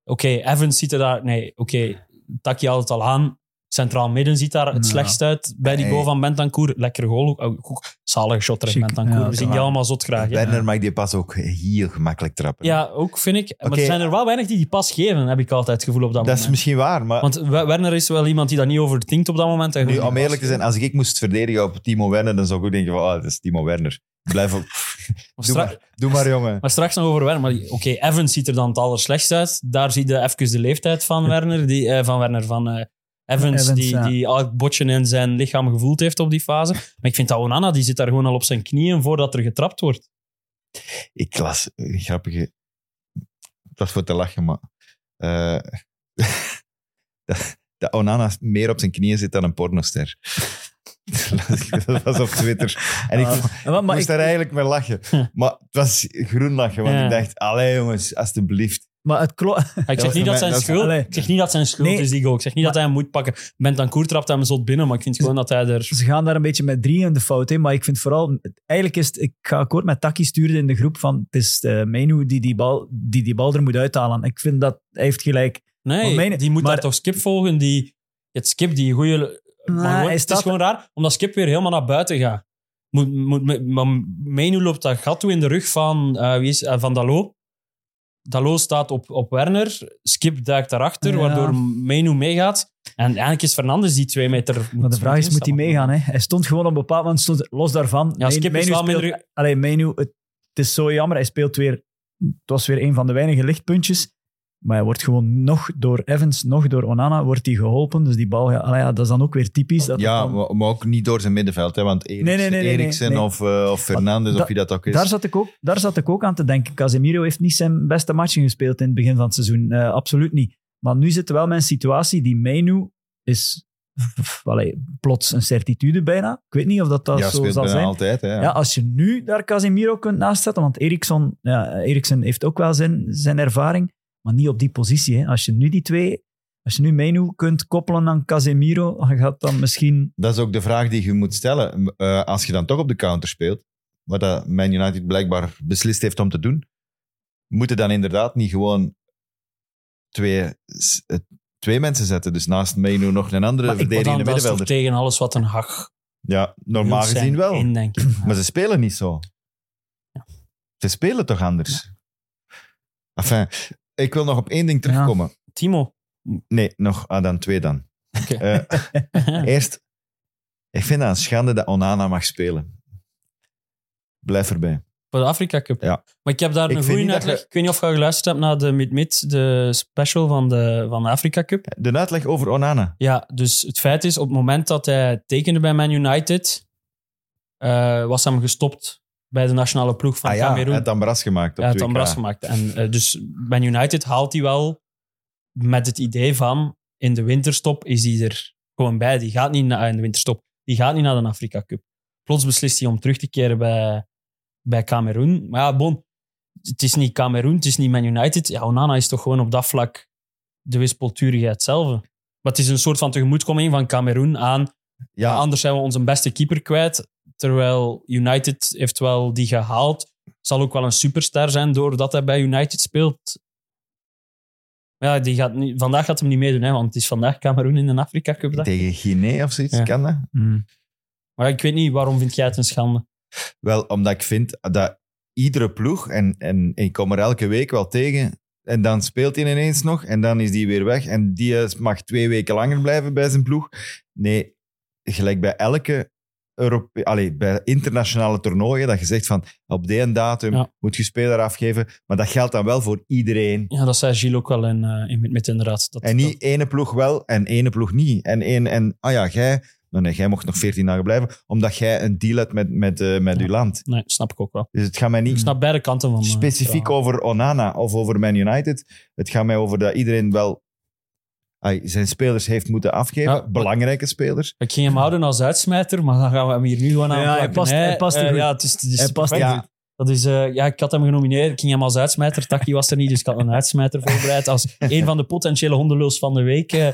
D: Oké, Evans ziet er daar... Nee, oké, Taki haalt het al aan. Centraal midden ziet daar het
E: Ja.
D: slechtst uit bij die
C: Nee.
D: goal van Bentancourt. Lekker goal. ook. Oh, goed. Zalige shot terug,
E: Chic.
D: Bentancourt.
E: Ja,
D: We zien die
E: ja.
D: allemaal zot graag. hè.
C: Werner mag die pas ook heel gemakkelijk trappen.
D: Ja, ook vind ik. Maar
C: Oké.
D: er zijn er wel weinig die die pas geven, heb ik altijd het gevoel op
C: dat
D: dat,
C: is
D: moment.
C: misschien waar, maar
D: Want We- Werner is wel iemand die daar niet over denkt op dat moment. En
C: nu,
D: gewoon
C: om
D: die
C: eerlijk te
D: pas
C: zijn, als ik moest verdedigen op Timo Werner, dan zou ik ook denken van, ah, het is Timo Werner. Blijf op.
D: geeft. Maar
C: Doe
D: stra-
C: maar, doe maar jongen.
D: Maar straks nog over Werner. Maar die- Oké, Evans ziet er dan het allerslechtst uit. Daar zie je even de leeftijd van Werner. Die, eh, van Werner, van eh, Evans,
E: Evans,
D: die,
E: ja.
D: die elk botje in zijn lichaam gevoeld heeft op die fase. Maar ik vind dat Onana, die zit daar gewoon al op zijn knieën voordat er getrapt wordt.
C: Ik las een grappige... Dat is voor te lachen, maar... eh, dat, dat Onana meer op zijn knieën zit dan een pornoster. dat was op Twitter. En ik,
E: Ah, maar- maar
C: ik
E: ik-
C: moest daar eigenlijk mee lachen. Maar het was groen lachen, want
D: Ja.
C: ik dacht, allee jongens, alstublieft.
E: maar het klopt.
D: Ik
C: was
D: zeg, niet
C: voor
D: dat
C: mij-
D: zijn
C: dat is-
D: schuld,
E: Allee.
D: ik zeg niet dat zijn schuld
E: Nee.
D: is, die goal. Ik zeg niet
E: Maar-
D: dat hij hem moet pakken. Bentancur trapt hem zot binnen, maar ik vind gewoon dat hij er...
E: ze gaan daar een beetje met drie in de fout in. Maar ik vind vooral, eigenlijk is het, ik ga akkoord met Taki stuurde in de groep van het is eh Menu die die, bal, die die bal er moet uithalen. Ik vind dat, hij heeft gelijk.
D: Nee,
E: Maar mijn-
D: die moet
E: maar-
D: daar toch Skip volgen. Die, het Skip, die goede Maar
E: Maar
D: gewoon-
E: hij
D: het
E: staat-
D: is gewoon raar, omdat Skip weer helemaal naar buiten gaat. Moet, moet, moet- maar Menu loopt dat gat toe in de rug van, eh, wie is, eh, van Dalo. Dalo staat op, op Werner. Skip duikt daarachter,
E: Ja.
D: waardoor Menu meegaat. En eigenlijk is Fernandes die twee meter...
E: Maar de vraag is, moet hij meegaan? Hè? Hij stond gewoon op een bepaald moment, stond los daarvan.
D: Ja, Skip is wel
E: speelt-
D: minder-
E: Allee, Menu, het, het is zo jammer. Hij speelt weer, het was weer een van de weinige lichtpuntjes. Maar hij wordt gewoon nog door Evans, nog door Onana, wordt hij geholpen. Dus die bal, ja, allee, ja, dat is dan ook weer typisch. Dat het
C: Ja,
E: dan-
C: maar, maar ook niet door zijn middenveld, hè, want Eriksen,
E: Nee, nee, nee, nee, nee,
C: Eriksen
E: nee.
C: Of, eh, of Fernandes,
E: da-
C: of wie dat ook is.
E: Daar zat, ik ook, daar zat ik ook aan te denken. Casemiro heeft niet zijn beste matchen gespeeld in het begin van het seizoen. Eh, absoluut niet. Maar nu zitten we wel met een situatie die mij nu is pff, allee, plots een certitude bijna. Ik weet niet of dat, dat
C: ja,
E: zo
C: speelt
E: zal
C: bijna
E: zijn.
C: altijd. Hè,
E: Ja, als je nu daar Casemiro kunt naastzetten, want Eriksson, ja, Eriksen heeft ook wel zijn, zijn ervaring, maar niet op die positie. Hè. Als je nu die twee, als je nu Menu kunt koppelen aan Casemiro, dan gaat dan misschien...
C: Dat is ook de vraag die je moet stellen. Eh, als je dan toch op de counter speelt, wat dat Man United blijkbaar beslist heeft om te doen, moeten dan inderdaad niet gewoon twee, s- eh, twee mensen zetten. Dus naast Menu nog een andere
D: Maar ik maar
C: verdedigende
D: dan, dat is toch
C: middenvelder.
D: tegen alles wat een hag
C: Ja,
D: wil
C: normaal
D: zijn
C: gezien wel.
D: in, denk ik.
C: Maar ze spelen niet zo. Ze spelen toch anders? Enfin, ik wil nog op één ding terugkomen.
D: Timo.
C: Nee, nog ah, dan twee dan.
D: Oké.
C: Eh, eerst, ik vind dat een schande dat Onana mag spelen. Blijf erbij.
D: Voor de Afrika Cup.
C: Ja.
D: Maar ik heb daar
C: Ik
D: een
C: vind
D: goede
C: niet dat
D: uitleg.
C: je-
D: Ik weet niet of je geluisterd hebt naar de Mid-Mid, de special van de, van de Afrika Cup.
C: De uitleg over Onana.
D: Ja, dus het feit is, op het moment dat hij tekende bij Man United, eh, was hem gestopt bij de nationale ploeg van
C: ah ja, hij
D: Cameroen.
C: had Ambras gemaakt op
D: Hij had
C: 2K.
D: dan bras gemaakt. En, eh, dus Man United haalt hij wel met het idee van, in de winterstop is hij er gewoon bij. Die gaat niet naar, in de winterstop, die gaat niet naar de Afrika Cup. Plots beslist hij om terug te keren bij, bij Cameroen. Maar ja, bon, het is niet Cameroen, het is niet Man United. Ja, Onana is toch gewoon op dat vlak de wispelturigheid zelf. Maar het is een soort van tegemoetkoming van Cameroen aan
C: Ja,
D: Anders zijn we onze beste keeper kwijt. Terwijl United heeft wel die gehaald. Zal ook wel een superster zijn doordat hij bij United speelt. Maar ja, die gaat niet, vandaag gaat hem niet meedoen, hè, want het is vandaag Cameroen in de Afrika Cup. dag.
C: Tegen Guinea of zoiets,
D: Ja.
C: kan dat?
D: Maar ik weet niet, waarom vind jij het een schande?
C: Wel, omdat ik vind dat iedere ploeg, en, en ik kom er elke week wel tegen, en dan speelt hij ineens nog, en dan is die weer weg, en die eh, mag twee weken langer blijven bij zijn ploeg. Nee, gelijk bij elke Europe Allee, bij internationale toernooien, dat je zegt van op die en datum
D: Ja.
C: moet je speler afgeven, maar dat geldt dan wel voor iedereen.
D: Ja, dat zei Gilles ook wel in, eh, in met, met inderdaad. Dat,
C: En niet ene ploeg wel en ene ploeg niet. En, één, en ah ja, jij, nou nee, jij mocht nog 14 dagen blijven, omdat jij een deal hebt met, met, eh, met
D: Ja.
C: uw land.
D: dat- nee, snap ik ook wel.
C: Dus het gaat mij
D: Ik
C: niet
D: snap beide kanten van. eh,
C: specifiek
D: het
C: over Onana of over Man United. Het gaat mij over dat iedereen wel ai, zijn spelers heeft moeten afgeven.
D: Ja.
C: Belangrijke spelers.
D: verhaal. Ik ging hem houden als uitsmijter, maar dan gaan we hem hier nu gewoon
E: Ja,
D: aan.
E: hij past- hij past er goed.
D: ja, het is, het is
E: Hij past er
D: perfect.
C: goed.
D: Dat is, eh, ja, ik had hem genomineerd. Ik ging hem als uitsmijter. Taki was er niet, dus ik had een uitsmijter voorbereid. Als een van de potentiële hondenlul van de week. eh, eh,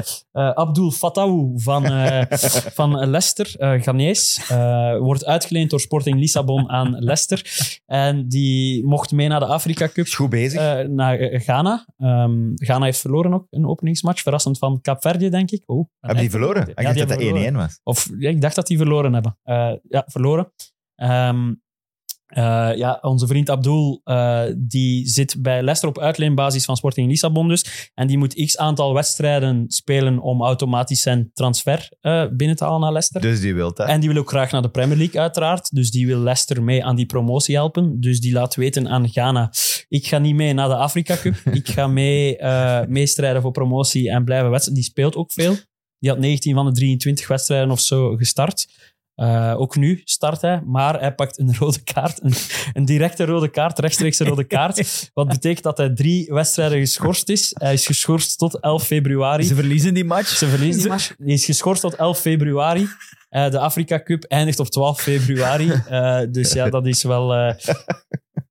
D: Abdul Fatawu van, eh, van Leicester, eh Ghanese. eh, wordt uitgeleend door Sporting Lissabon aan Leicester. En die mocht mee naar de Afrika Cup.
C: Is goed bezig.
D: eh, naar eh, Ghana. Ehm, Ghana heeft verloren ook een openingsmatch. Verrassend van Kaapverdië, denk ik. Oh,
C: hebben die verloren?
D: Ja,
C: ik dacht
D: die
C: dat dat
D: hebben
C: 1-1 was.
D: of ja, ik dacht dat die verloren hebben. Eh, ja, verloren. Ehm, eh, ja, onze vriend Abdul, eh, die zit bij Leicester op uitleenbasis van Sporting Lissabon dus. En die moet x aantal wedstrijden spelen om automatisch zijn transfer eh, binnen te halen naar Leicester.
C: Dus die wil dat.
D: En die wil ook graag naar de Premier League, uiteraard. Dus die wil Leicester mee aan die promotie helpen. Dus die laat weten aan Ghana: ik ga niet mee naar de Afrika Cup. ik ga mee, eh, meestrijden voor promotie en blijven wedstrijden. Die speelt ook veel. Die had 19 van de 23 wedstrijden of zo gestart. Eh, ook nu start hij, maar hij pakt een rode kaart. Een, een directe rode kaart, rechtstreeks een rode kaart. Wat betekent dat hij drie wedstrijden geschorst is. Hij is geschorst tot 11 februari.
E: Ze verliezen die match.
D: Ze verliezen
E: Ze-
D: die match. Die is geschorst tot 11 februari. Eh, de Afrika Cup eindigt op 12 februari. Eh, dus ja, dat is wel eh,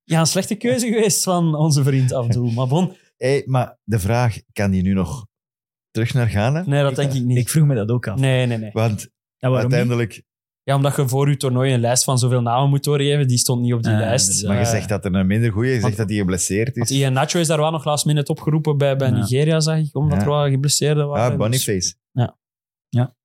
D: ja, een slechte keuze geweest van onze vriend Abdul. Maar bon,
C: Hey, maar de vraag, kan die nu nog terug naar Ghana?
D: nee, dat denk ik
E: Ik
D: niet.
E: vroeg me dat ook af.
D: Nee, nee, nee.
C: Want
E: Ja, waarom niet?
C: uiteindelijk...
D: Ja, omdat je voor je toernooi een lijst van zoveel namen moet doorgeven. Die stond niet op die
E: Ah,
D: lijst.
E: inderdaad.
C: Maar je
D: Eh,
C: zegt dat er een minder goeie, je zegt
D: want-
C: dat hij geblesseerd
D: want
C: is.
D: Ian Nacho is daar wel nog laatst minute opgeroepen bij, bij
E: Ja.
D: Nigeria, zag ik. Omdat
C: Ja.
D: er wel geblesseerden waren.
C: Ah,
D: Dus-
C: Boniface.
D: Ja.
E: Ja.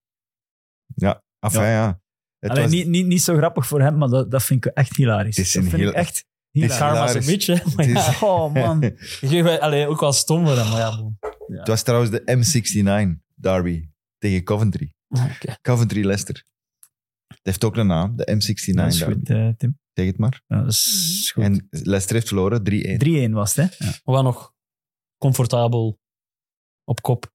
C: Ja, enfin, ja. Het
E: Allee,
C: was-
E: niet, niet, niet zo grappig voor hem, maar dat, dat vind ik echt hilarisch.
C: Het is
E: dat
C: een
E: vind
C: heel-
E: ik echt
C: is
E: hilarisch.
D: Karma's een
C: Hilarisch.
D: beetje. hè. Maar
C: Het
D: ja,
C: is-
E: Oh man.
D: je geeft wel- allee, ook wel stom voor hem. Maar ja, bon.
C: Het was trouwens de M69 derby tegen Coventry.
D: Oké.
C: Coventry Leicester. Het heeft ook een naam, de M69
E: Dat is
C: derby.
E: goed, eh, Tim.
C: Zeg het maar.
E: Ja, dat is
D: Mhm.
E: goed.
C: En Leicester heeft verloren 3-1.
E: 3-1 was het, hè? Ja.
D: Wat nog comfortabel op kop.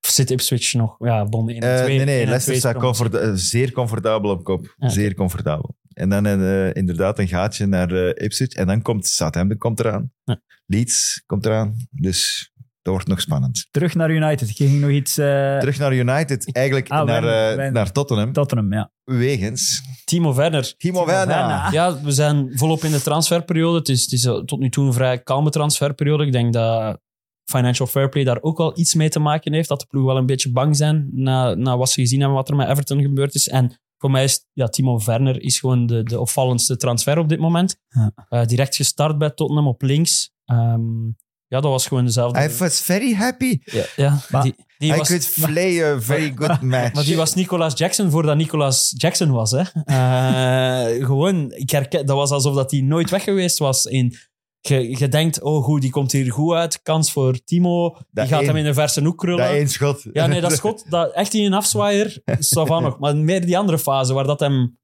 D: Of zit Ipswich nog? Ja, bon 1 en
C: Eh,
D: 2.
C: nee, nee,
D: één en
C: Leicester
D: twee
C: staat
D: sprongen.
C: comfort- eh, zeer comfortabel op kop.
D: Ja.
C: Zeer comfortabel. En dan eh, inderdaad een gaatje naar eh, Ipswich. En dan komt Southampton komt eraan.
D: Ja.
C: Leeds komt eraan. Dus dat wordt nog spannend.
E: Terug naar United. Je ging nog iets... eh
C: Terug naar United. Eigenlijk
E: Ah,
C: naar,
E: Werner,
C: eh,
E: Werner.
C: naar Tottenham.
E: Tottenham, ja.
C: Wegens
D: Timo Werner.
C: Timo Werner.
E: Werner.
D: Ja, we zijn volop in de transferperiode. Het is, het is eh, tot nu toe een vrij kalme transferperiode. Ik denk dat Financial Fair Play daar ook wel iets mee te maken heeft. Dat de ploeg wel een beetje bang zijn na, na wat ze gezien hebben, wat er met Everton gebeurd is. En voor mij is ja, Timo Werner is gewoon de, de opvallendste transfer op dit moment.
E: Ja.
D: Eh, direct gestart bij Tottenham op links. Ehm, ja, dat was gewoon dezelfde.
C: Hij was very happy.
D: Ja, ja
E: Maar
D: die, die
C: I
D: was,
C: could play a very good match.
D: maar die was Nicolas Jackson voordat Nicolas Jackson was. Hè. Eh, gewoon, ik herken, dat was alsof dat hij nooit weg geweest was. In, je, je denkt, oh goed, die komt hier goed uit. Kans voor Timo. Die
C: Dat
D: gaat
C: één-
D: hem in een verse hoek
C: dat
D: krullen.
C: één schot.
D: Ja, nee, dat schot, dat, echt in een afzwaaier, Savan nog. Maar meer die andere fase, waar dat hem...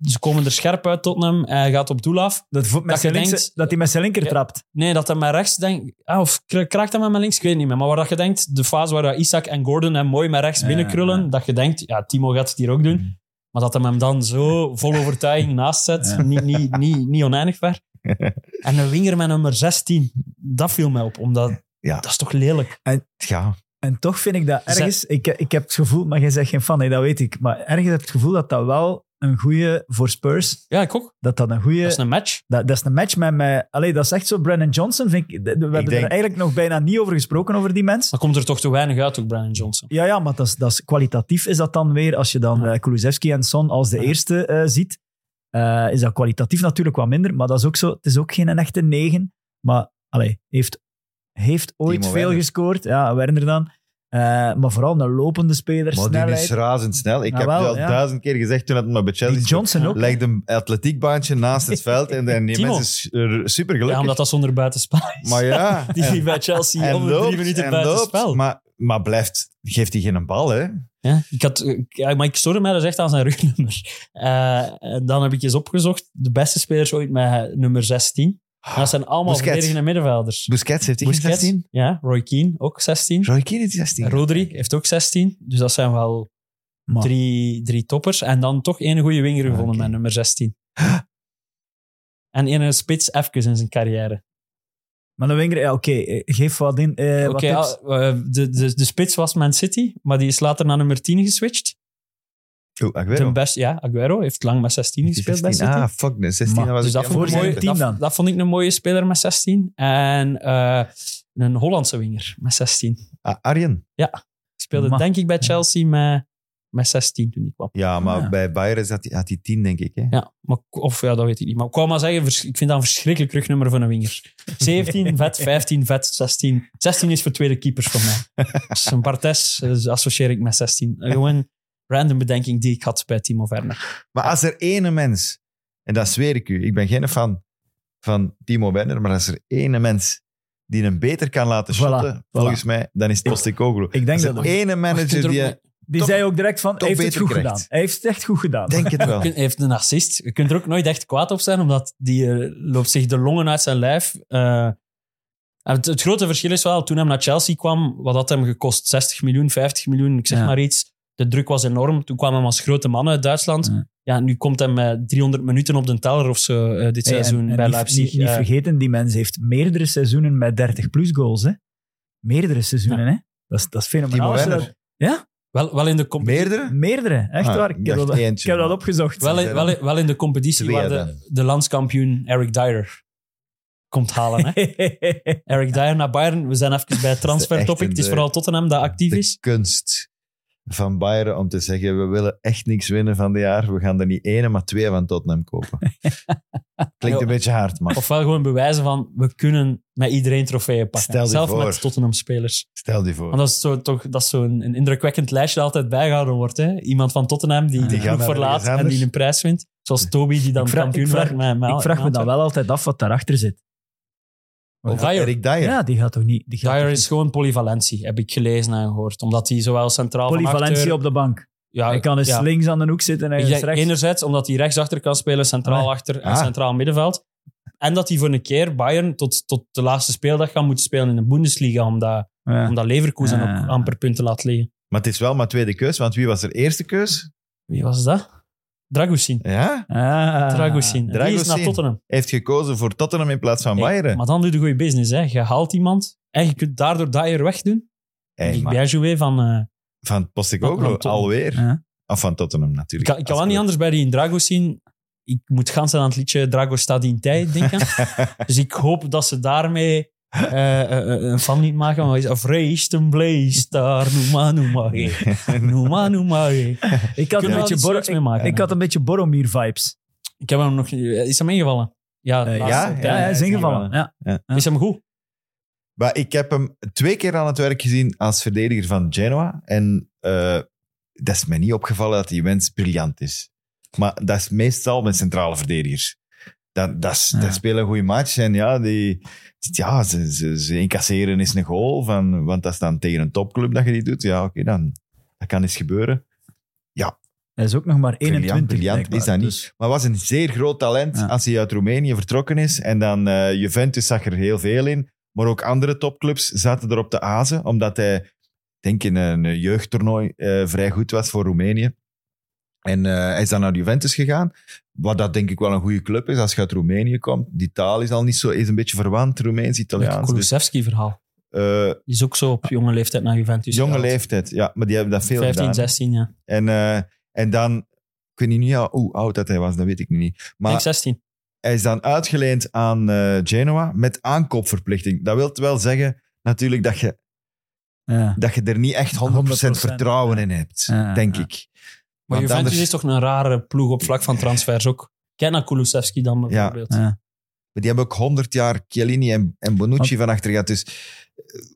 D: Ze komen er scherp uit, Tottenham. Hij gaat op doel af.
E: Dat, vo- met
D: Dat je
E: zijn linkse-
D: denkt-
E: dat hij met zijn linker
D: Ja.
E: trapt.
D: Nee, dat hij met rechts denkt... Ah, of kra- kraakt hij met mijn links? Ik weet het niet meer. Maar waar dat je denkt, de fase waar dat Isaac en Gordon hem mooi met rechts
E: Ja,
D: binnenkrullen,
E: ja.
D: dat je denkt, ja, Timo gaat het hier ook doen.
C: Mhm.
D: Maar dat hij hem dan zo vol overtuiging naast zet,
E: Ja.
D: niet, niet, niet, niet oneindig ver. En een winger met nummer 16, dat viel mij op. Omdat,
C: Ja.
D: dat is toch lelijk.
C: Ja,
E: En toch vind ik dat
D: Ze-
E: ergens... Ik, ik heb het gevoel... Maar jij zegt geen fan, hè, dat weet ik. Maar ergens heb ik het gevoel dat dat wel een goede voor Spurs...
D: Ja, ik ook.
E: Dat dat een goede...
D: Dat is een match.
E: Dat, dat is een match met mij. Allee, dat is echt zo. Brandon Johnson, vind ik. de- de- We hebben
C: denk-
E: er eigenlijk nog bijna niet over gesproken, over die mens.
D: Dan komt er toch te weinig uit, ook Brian Johnson.
E: Ja, ja, maar dat is, dat is, kwalitatief is dat dan weer. Als je dan eh Kulusevski en Son als de
D: Ja.
E: eerste eh, ziet, eh, is dat kwalitatief natuurlijk wat minder. Maar dat is ook zo. Het is ook geen een echte negen. Maar allee, heeft heeft ooit
C: Timo
E: veel
C: Werner.
E: gescoord. Ja, Werner dan. Eh, maar vooral een lopende speler,
C: Maar die
E: snelheid.
C: is razend snel. Ik
E: Ja,
C: heb
E: wel,
C: het al
E: ja.
C: duizend keer gezegd toen het maar bij
E: Die
C: Chelsea
E: Johnson ook.
C: Leg een atletiekbaantje naast het veld en, en die
D: Timo.
C: mensen is super gelukkig.
D: Ja, omdat dat zonder buitenspel is.
C: Maar ja,
D: Die
C: en-
D: bij Chelsea onder drie minuten buitenspel.
C: Maar, maar blijft, geeft hij geen bal, hè?
D: Ja, ik had, ik- ja, maar ik stoorde mij dus echt aan zijn rugnummer. Eh, en dan heb ik eens opgezocht, de beste spelers ooit met nummer 16. En dat zijn allemaal
C: Ah, Busquets.
D: verdedigende middenvelders.
C: Busquets heeft hij geen
D: Busquets,
C: 16.
D: Ja, Roy Keane, ook 16.
C: Roy Keane heeft 16.
D: Rodri heeft ook 16. Dus dat zijn wel
E: Man.
D: drie, drie toppers. En dan toch één goede winger gevonden
C: Ah, Oké.
D: met nummer 16. En één spits even in zijn carrière.
E: Maar dan winger, ja, oké, eh, geef wat in. eh, wat
D: Oké,
E: tips.
D: ah, eh, de, de, de spits was Man City, maar die is later naar nummer 10 geswitcht.
C: Oeh,
D: Ten
C: Aguero.
D: best, ja, Aguero heeft lang met 16
C: Heeft hij Ah,
D: gespeeld bij
C: 16?
D: City.
C: Ah, fuck, nee, 16
E: Maar,
C: was
D: dus dat
C: ik
D: vond, ik
E: voor
C: helemaal
D: mooi,
E: zijn
C: vergeten.
D: dat,
E: team dan.
D: dat vond ik een mooie speler met 16. En eh, een Hollandse winger met 16.
C: Ah, Arjen.
D: Speelde
E: Ma-
D: denk ik bij Chelsea met, met 16 toen ik kwam.
C: Ja, maar
E: Ah.
C: bij Bayern zat hij- had hij 10, denk ik. Hè?
D: Ja, maar, of ja, dat weet ik niet. Maar ik wou maar zeggen, vers- ik vind dat een verschrikkelijk rugnummer van een winger. 17 vet, 15 vet, 16. 16 is voor tweede keepers voor mij. Dus een Bartes eh, associeer ik met 16. Eh, Gewoon random bedenking die ik had bij Timo Werner.
C: Maar als er ene mens, en dat zweer ik u, ik ben geen fan van Timo Werner, maar als er ene mens die hem beter kan laten
E: Voilà,
C: shotten,
E: voilà.
C: volgens mij, dan is het Postecoglou.
E: Ik denk
C: Als
E: dat
C: er
E: ook.
C: ene manager die...
D: Hij
E: Die
C: Toch-
E: zei ook direct van, hij
C: toch
E: heeft het
C: beter
E: goed
C: krijgt.
E: gedaan. Hij heeft het echt goed gedaan.
C: Denk het wel.
D: heeft een assist. Je kunt er ook nooit echt kwaad op zijn, omdat die eh, loopt zich de longen uit zijn lijf. Eh, en het, het grote verschil is wel, toen hij naar Chelsea kwam, wat had hem gekost? 60 miljoen, 50 miljoen, ik zeg
E: Ja.
D: maar iets. De druk was enorm. Toen kwam hem als grote man uit Duitsland.
E: Ja.
D: Ja, nu komt hij met 300 minuten op de teller of zo eh, dit
E: Hey, en-
D: seizoen
E: en
D: bij
E: niet,
D: Leipzig.
E: Niet, niet
D: Eh,
E: vergeten, die mens heeft meerdere seizoenen met 30-plus goals. Hè? Meerdere seizoenen, hè? Dat is, dat is fenomenaal.
C: Timo
E: Als je
C: Werner.
E: dat-
D: wel, wel in de comp-
C: Meerdere?
E: Meerdere, echt
C: Ah,
E: waar. Ik
C: ik
E: heb,
C: dacht
E: dat,
C: eentje,
E: ik heb dat
C: maar-
E: opgezocht.
D: Wel in, wel, in- wel in de competitie
C: Twee
D: waar
C: dan.
D: de, de landskampioen Eric Dyer komt halen. Hè? Eric Dyer naar Bayern. We zijn even bij het
C: echt
D: transfertopic.
C: een
D: Het is
C: de-
E: eh,
D: vooral Tottenham dat actief
C: De
D: is.
C: kunst van Bayern om te zeggen, we willen echt niks winnen van dit jaar. We gaan er niet ene, maar twee van Tottenham kopen. Klinkt een beetje hard, maar
D: Ofwel gewoon bewijzen van, we kunnen met iedereen trofeeën pakken.
C: Stel je
D: Zelf
C: voor.
D: met Tottenham-spelers.
C: stel je voor.
D: Want dat is zo- toch dat is zo'n een indrukwekkend lijstje dat altijd bijgehouden wordt. Hè? Iemand van Tottenham die de
C: gaan
D: groep
C: naar
D: verlaat
C: ergens
D: en
C: anders.
D: die een prijs wint. Zoals Toby die dan
E: Ik vraag-
D: kampioen
E: ik vraag-
D: werd. met- met-
E: ik vraag me
D: met-
E: dan wel altijd af wat daarachter zit.
C: Of
D: Dyer.
C: Eric Dyer.
E: Ja, die gaat toch niet... Die gaat
D: Dyer
E: toch
D: is gewoon polyvalentie, heb ik gelezen en gehoord. Omdat hij zowel centraal
E: niet-
D: van
E: Polyvalentie
D: acteur...
E: op de bank.
D: Ja,
E: Hij kan eens
D: ja.
E: links aan de hoek zitten en
D: Ik
E: eens
D: denk
E: rechts.
D: Enerzijds omdat hij rechtsachter kan spelen, centraal
E: Nee.
D: achter en
C: Ah.
D: centraal middenveld. En dat hij voor een keer Bayern tot, tot de laatste speeldag gaat moeten spelen in de Bundesliga. Omdat,
C: Ah.
E: Ja.
D: omdat Leverkusen
E: Ja.
D: ook amper punten laat liggen.
C: Maar het is wel maar tweede keus, want wie was er eerste keus?
D: Wie was dat? Dragusin.
C: Ja,
E: Ah.
D: Dragusin. En Die is
C: Dragusin.
D: naar Tottenham.
C: heeft gekozen voor Tottenham in plaats van
D: Hey,
C: Bayern.
D: maar dan doe je goede business. Hè. Je haalt iemand en je kunt daardoor Dyer wegdoen.
C: Hey,
D: ik
C: maar
D: ben jouw van... eh,
C: van
D: Van
C: Postecoglou
D: Tottenham.
C: alweer.
E: Ja.
C: Of van Tottenham
D: ik
C: natuurlijk.
D: kan, ik kan wel niet anders bij die Dragusin. Ik moet gans aan het liedje Drago staat in tijd denken. dus ik hoop dat ze daarmee eh, eh, eh, een fan niet maken. Maar is of race een blaze daar, noem maar, noem maar. eh. Noem maar, noem maar. eh. Ik
E: Ik had
D: Kunnen
E: een
D: we
E: beetje
D: iets
E: Bor-
D: leuks mee maken?
E: ik had een beetje Boromir-vibes.
D: Ik heb hem nog... Is hem ingevallen? Ja,
E: Eh,
D: laatste
C: ja,
D: tijd.
E: Ja,
C: ja,
E: hij is
C: ja,
E: ingevallen.
C: ja.
E: Ja.
D: Is hem goed?
C: Maar ik heb hem twee keer aan het werk gezien als verdediger van Genoa. En eh, dat is mij niet opgevallen dat die wens briljant is. Maar dat is meestal met centrale verdedigers. Dat, dat, is,
E: Ja.
C: dat spelen een goede match. En ja, die, ja ze, ze, ze incasseren is een goal. Van, want dat is dan tegen een topclub dat je die doet. Ja, oké, dan dat kan eens gebeuren.
E: Hij is ook nog maar 21.
C: Briljant, briljant
E: blijkbaar.
C: is dat niet.
E: Dus-
C: Maar was een zeer groot talent
E: Ja.
C: als hij uit Roemenië vertrokken is. En dan eh, Juventus zag er heel veel in. Maar ook andere topclubs zaten er op de azen. Omdat hij, ik denk in een jeugdtoernooi, eh, vrij goed was voor Roemenië. En eh, hij is dan naar Juventus gegaan. Wat dat denk ik wel een goede club is als je uit Roemenië komt. Die taal is al niet zo, is een beetje verwant,
D: Het
C: Roemeens-Italiaans. Dus,
D: Kulusevski-verhaal.
C: eh,
D: Die is ook zo op jonge leeftijd naar Juventus
C: jonge
D: gehaald.
C: leeftijd, ja. Maar die hebben dat veel
D: 15,
C: gedaan.
D: 16, ja.
C: En, eh, en dan, ik weet niet nu hoe oud dat hij was, dat weet ik nu niet.
D: Ik
C: Maar
D: denk 16.
C: Hij is dan uitgeleend aan eh, Genoa met aankoopverplichting. Dat wil wel zeggen natuurlijk dat je,
E: Ja.
C: dat je er niet echt 100%,
E: 100%
C: vertrouwen in hebt,
E: Ja,
C: denk
E: ja.
C: ik.
D: Maar
C: Want
D: Juventus
C: anders-
D: is toch een rare ploeg op vlak van transfers ook. Kijk naar Kulusevski dan bijvoorbeeld.
E: Ja.
C: Maar die hebben ook 100 jaar Chiellini en, en Bonucci van achter gehad. Dus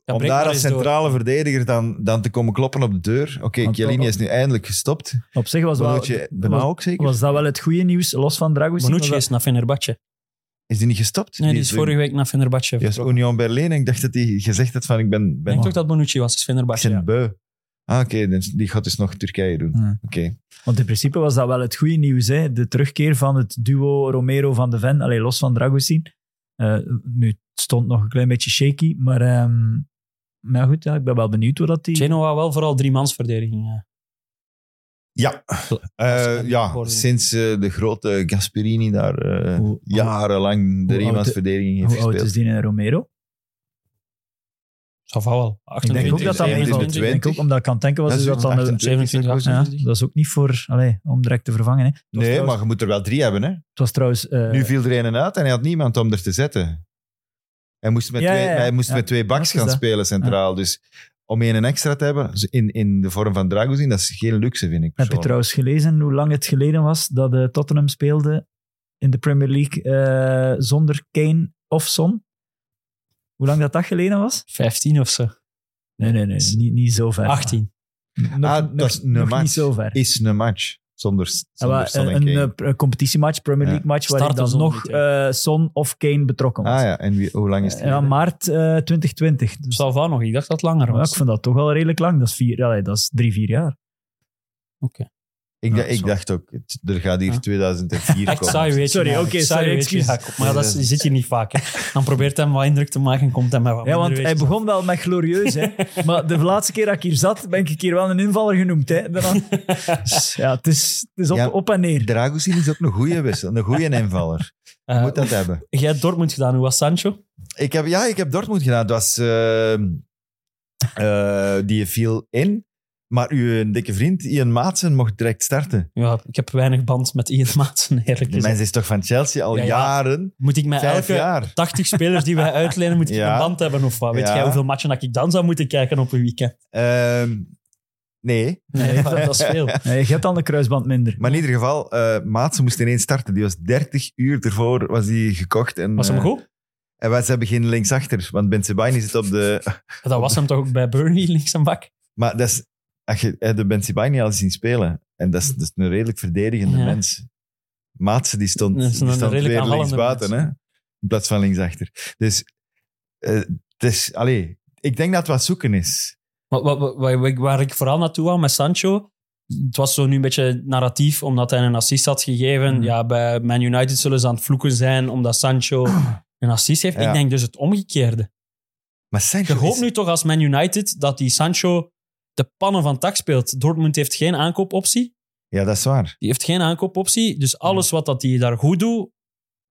D: Ja,
C: om
D: breek maar
C: daar als
D: eens
C: centrale verdediger dan, dan te komen kloppen op de deur. Oké,
E: Want-
C: Chiellini is nu eindelijk gestopt.
E: Op zich was, wel,
C: Bonucci bijna
E: was,
C: ook zeker.
E: was dat wel het goede nieuws, los van
D: door.
E: Dragovic.
D: Bonucci
E: was
D: is naar Fenerbahce.
C: Is die niet gestopt?
D: Nee, die is vorige week naar Fenerbahce.
C: Ja, is
D: vertrokken.
C: Union Berlin. Ik dacht dat hij gezegd had van ik ben,
D: Ik
C: ben,
D: denk toch dat Bonucci was, is
C: ik
D: Fenerbahce.
C: ben
D: ja.
C: beu. Ah, oké, dus die gaat dus nog Turkije doen.
E: Ja.
C: Oké.
E: Want in principe was dat wel het goede nieuws. Hè? De terugkeer van het duo Romero van de Ven, allee, los van Dragosin. Eh, nu, het stond nog een klein beetje shaky, maar, ehm, maar goed, ja, ik ben wel benieuwd hoe dat die...
D: Genoa wel vooral drie mansverdediging. ja.
C: Ja,
D: is
C: Eh
D: een
C: ja
D: voorbeeld.
C: sinds eh, de grote Gasperini daar eh,
E: Hoe- hoe-
C: jarenlang de
E: hoe oud-
C: Riemannsverdediging heeft
E: Hoe oud
C: gespeeld.
E: is die eh, Romero?
D: Zal wel.
E: Ik denk ook
D: 28,
E: dat dat
C: is
E: een van...
D: 21.
E: Ik denk ook, omdat Kantenke was,
C: Dat
E: dus
C: is
E: dat dan... de-
C: 28.
D: 27,
E: Ja,
D: 28.
E: dat is ook niet voor, allee, om direct te vervangen. Hè. Het
C: Nee,
E: was trouwens-
C: maar je moet er wel drie hebben. Hè?
E: Het was trouwens... eh,
C: nu viel er een uit en hij had niemand om er te zetten. Hij moest met
E: Ja,
C: twee,
E: ja, ja.
C: Hij moest
E: Ja,
C: met twee backs
E: dat is
C: gaan
E: dat.
C: spelen centraal. Dus om één een extra te hebben, dus in, in de vorm van Dragozin, dat is geen luxe, vind ik.
E: Heb je
C: persoonlijk.
E: trouwens gelezen hoe lang het geleden was dat eh, Tottenham speelde in de Premier League eh, zonder Kane of Son? Hoe lang dat dat geleden was?
D: 15 of zo.
E: Nee, nee, nee. Niet, niet zo ver.
D: 18.
E: Nog,
C: Ah,
E: nog-
C: dat is een
E: nog
C: match.
E: niet zo ver.
C: Is een match zonder,
E: Ah,
C: zonder
E: maar,
C: Son en
E: een
C: Kane.
E: eh, een competitiematch, Premier
C: Ja.
E: League match, waar
D: Starten
E: dan
D: zonder
E: nog
D: die twee.
E: eh, Son of Kane betrokken was.
C: ah ja, en wie, hoe lang is het?
E: Ja,
C: geleden?
E: maart eh, 2020. Dus,
D: Zal wel nog. Ik dacht dat het langer
E: ja, ik
D: was.
E: vond dat toch wel redelijk lang. Dat is, vier, allee, dat is drie, vier jaar.
D: Oké.
C: ik,
E: ja,
C: dacht- ik
E: zo.
C: dacht ook, het- er gaat hier
D: Ja.
C: 2004
D: Echt
C: komen.
D: saai weet je.
E: Sorry,
D: maar.
E: oké,
D: Echt
E: sorry,
D: weet je,
E: excuus.
D: Jacob. Maar dat is- je zit hier niet vaak. Hè. Dan probeert hij hem wat indruk te maken en komt hij met wat
E: Ja,
D: minder,
E: want
D: weet
E: hij
D: je.
E: begon wel met glorieus, hè. Maar de laatste keer dat ik hier zat, ben ik hier wel een invaller genoemd, hè. Daarna- Dus Ja, het is, het is op,
C: Ja.
E: op en neer.
C: Dragozin is ook een goede wissel, een goede invaller. Je
D: Eh,
C: moet dat hebben.
D: Jij hebt Dortmund gedaan. Hoe was Sancho?
C: Ik heb, ja, ik heb Dortmund gedaan. Het was, eh, eh, die viel in. Maar uw dikke vriend, Ian Maatsen, mocht direct starten.
D: Ja, ik heb weinig band met Ian Maatsen, eerlijk
C: Die
D: gezegd.
C: mens is toch van Chelsea al
D: Ja, ja.
C: jaren?
D: Moet ik met
C: Vijf
D: elke
C: jaar.
D: 80 spelers die wij uitlenen, moet ik
C: Ja.
D: een band hebben of wat? Weet
C: Ja.
D: jij hoeveel matchen dat ik dan zou moeten kijken op een weekend?
C: Ehm, nee.
D: Nee, maar dat is veel.
E: Nee, je hebt dan de kruisband minder.
C: Maar in ieder geval, eh Maatsen moest ineens starten. Die was 30 uur ervoor was die gekocht. En,
D: Was hem
C: eh,
D: goed?
C: en wij- ze hebben geen linksachter, want Ben Sebaini zit op de...
D: Dat was hem toch ook bij Burnley, links en bak?
C: Maar dat is, als je eh, de Ben Sebaini al zien spelen, en dat is, dat is een redelijk verdedigende
D: Hm. Ja.
C: mens. Maatsen, die stond,
D: Dat
C: die
D: is een
C: stond
D: redelijk
C: weer
D: aanvallende
C: linksbuiten, hè?
D: mens.
C: in plaats van linksachter. Dus, eh, het is, allee, ik denk dat het wat zoeken is.
D: Wat, wat, wat- wat- waar ik vooral naartoe wou met Sancho, het was zo nu een beetje narratief, omdat hij een assist had gegeven.
E: Mhm.
D: Ja, bij Man United zullen ze aan het vloeken zijn, omdat Sancho een assist heeft.
C: Ja.
D: Ik denk dus het omgekeerde.
C: Maar Sancho
D: Je hoopt
C: is-
D: nu toch als Man United dat die Sancho de pannen van tak speelt. Dortmund heeft geen aankoopoptie.
C: Ja, dat is waar.
D: Die heeft geen aankoopoptie. Dus alles wat dat die daar goed doet,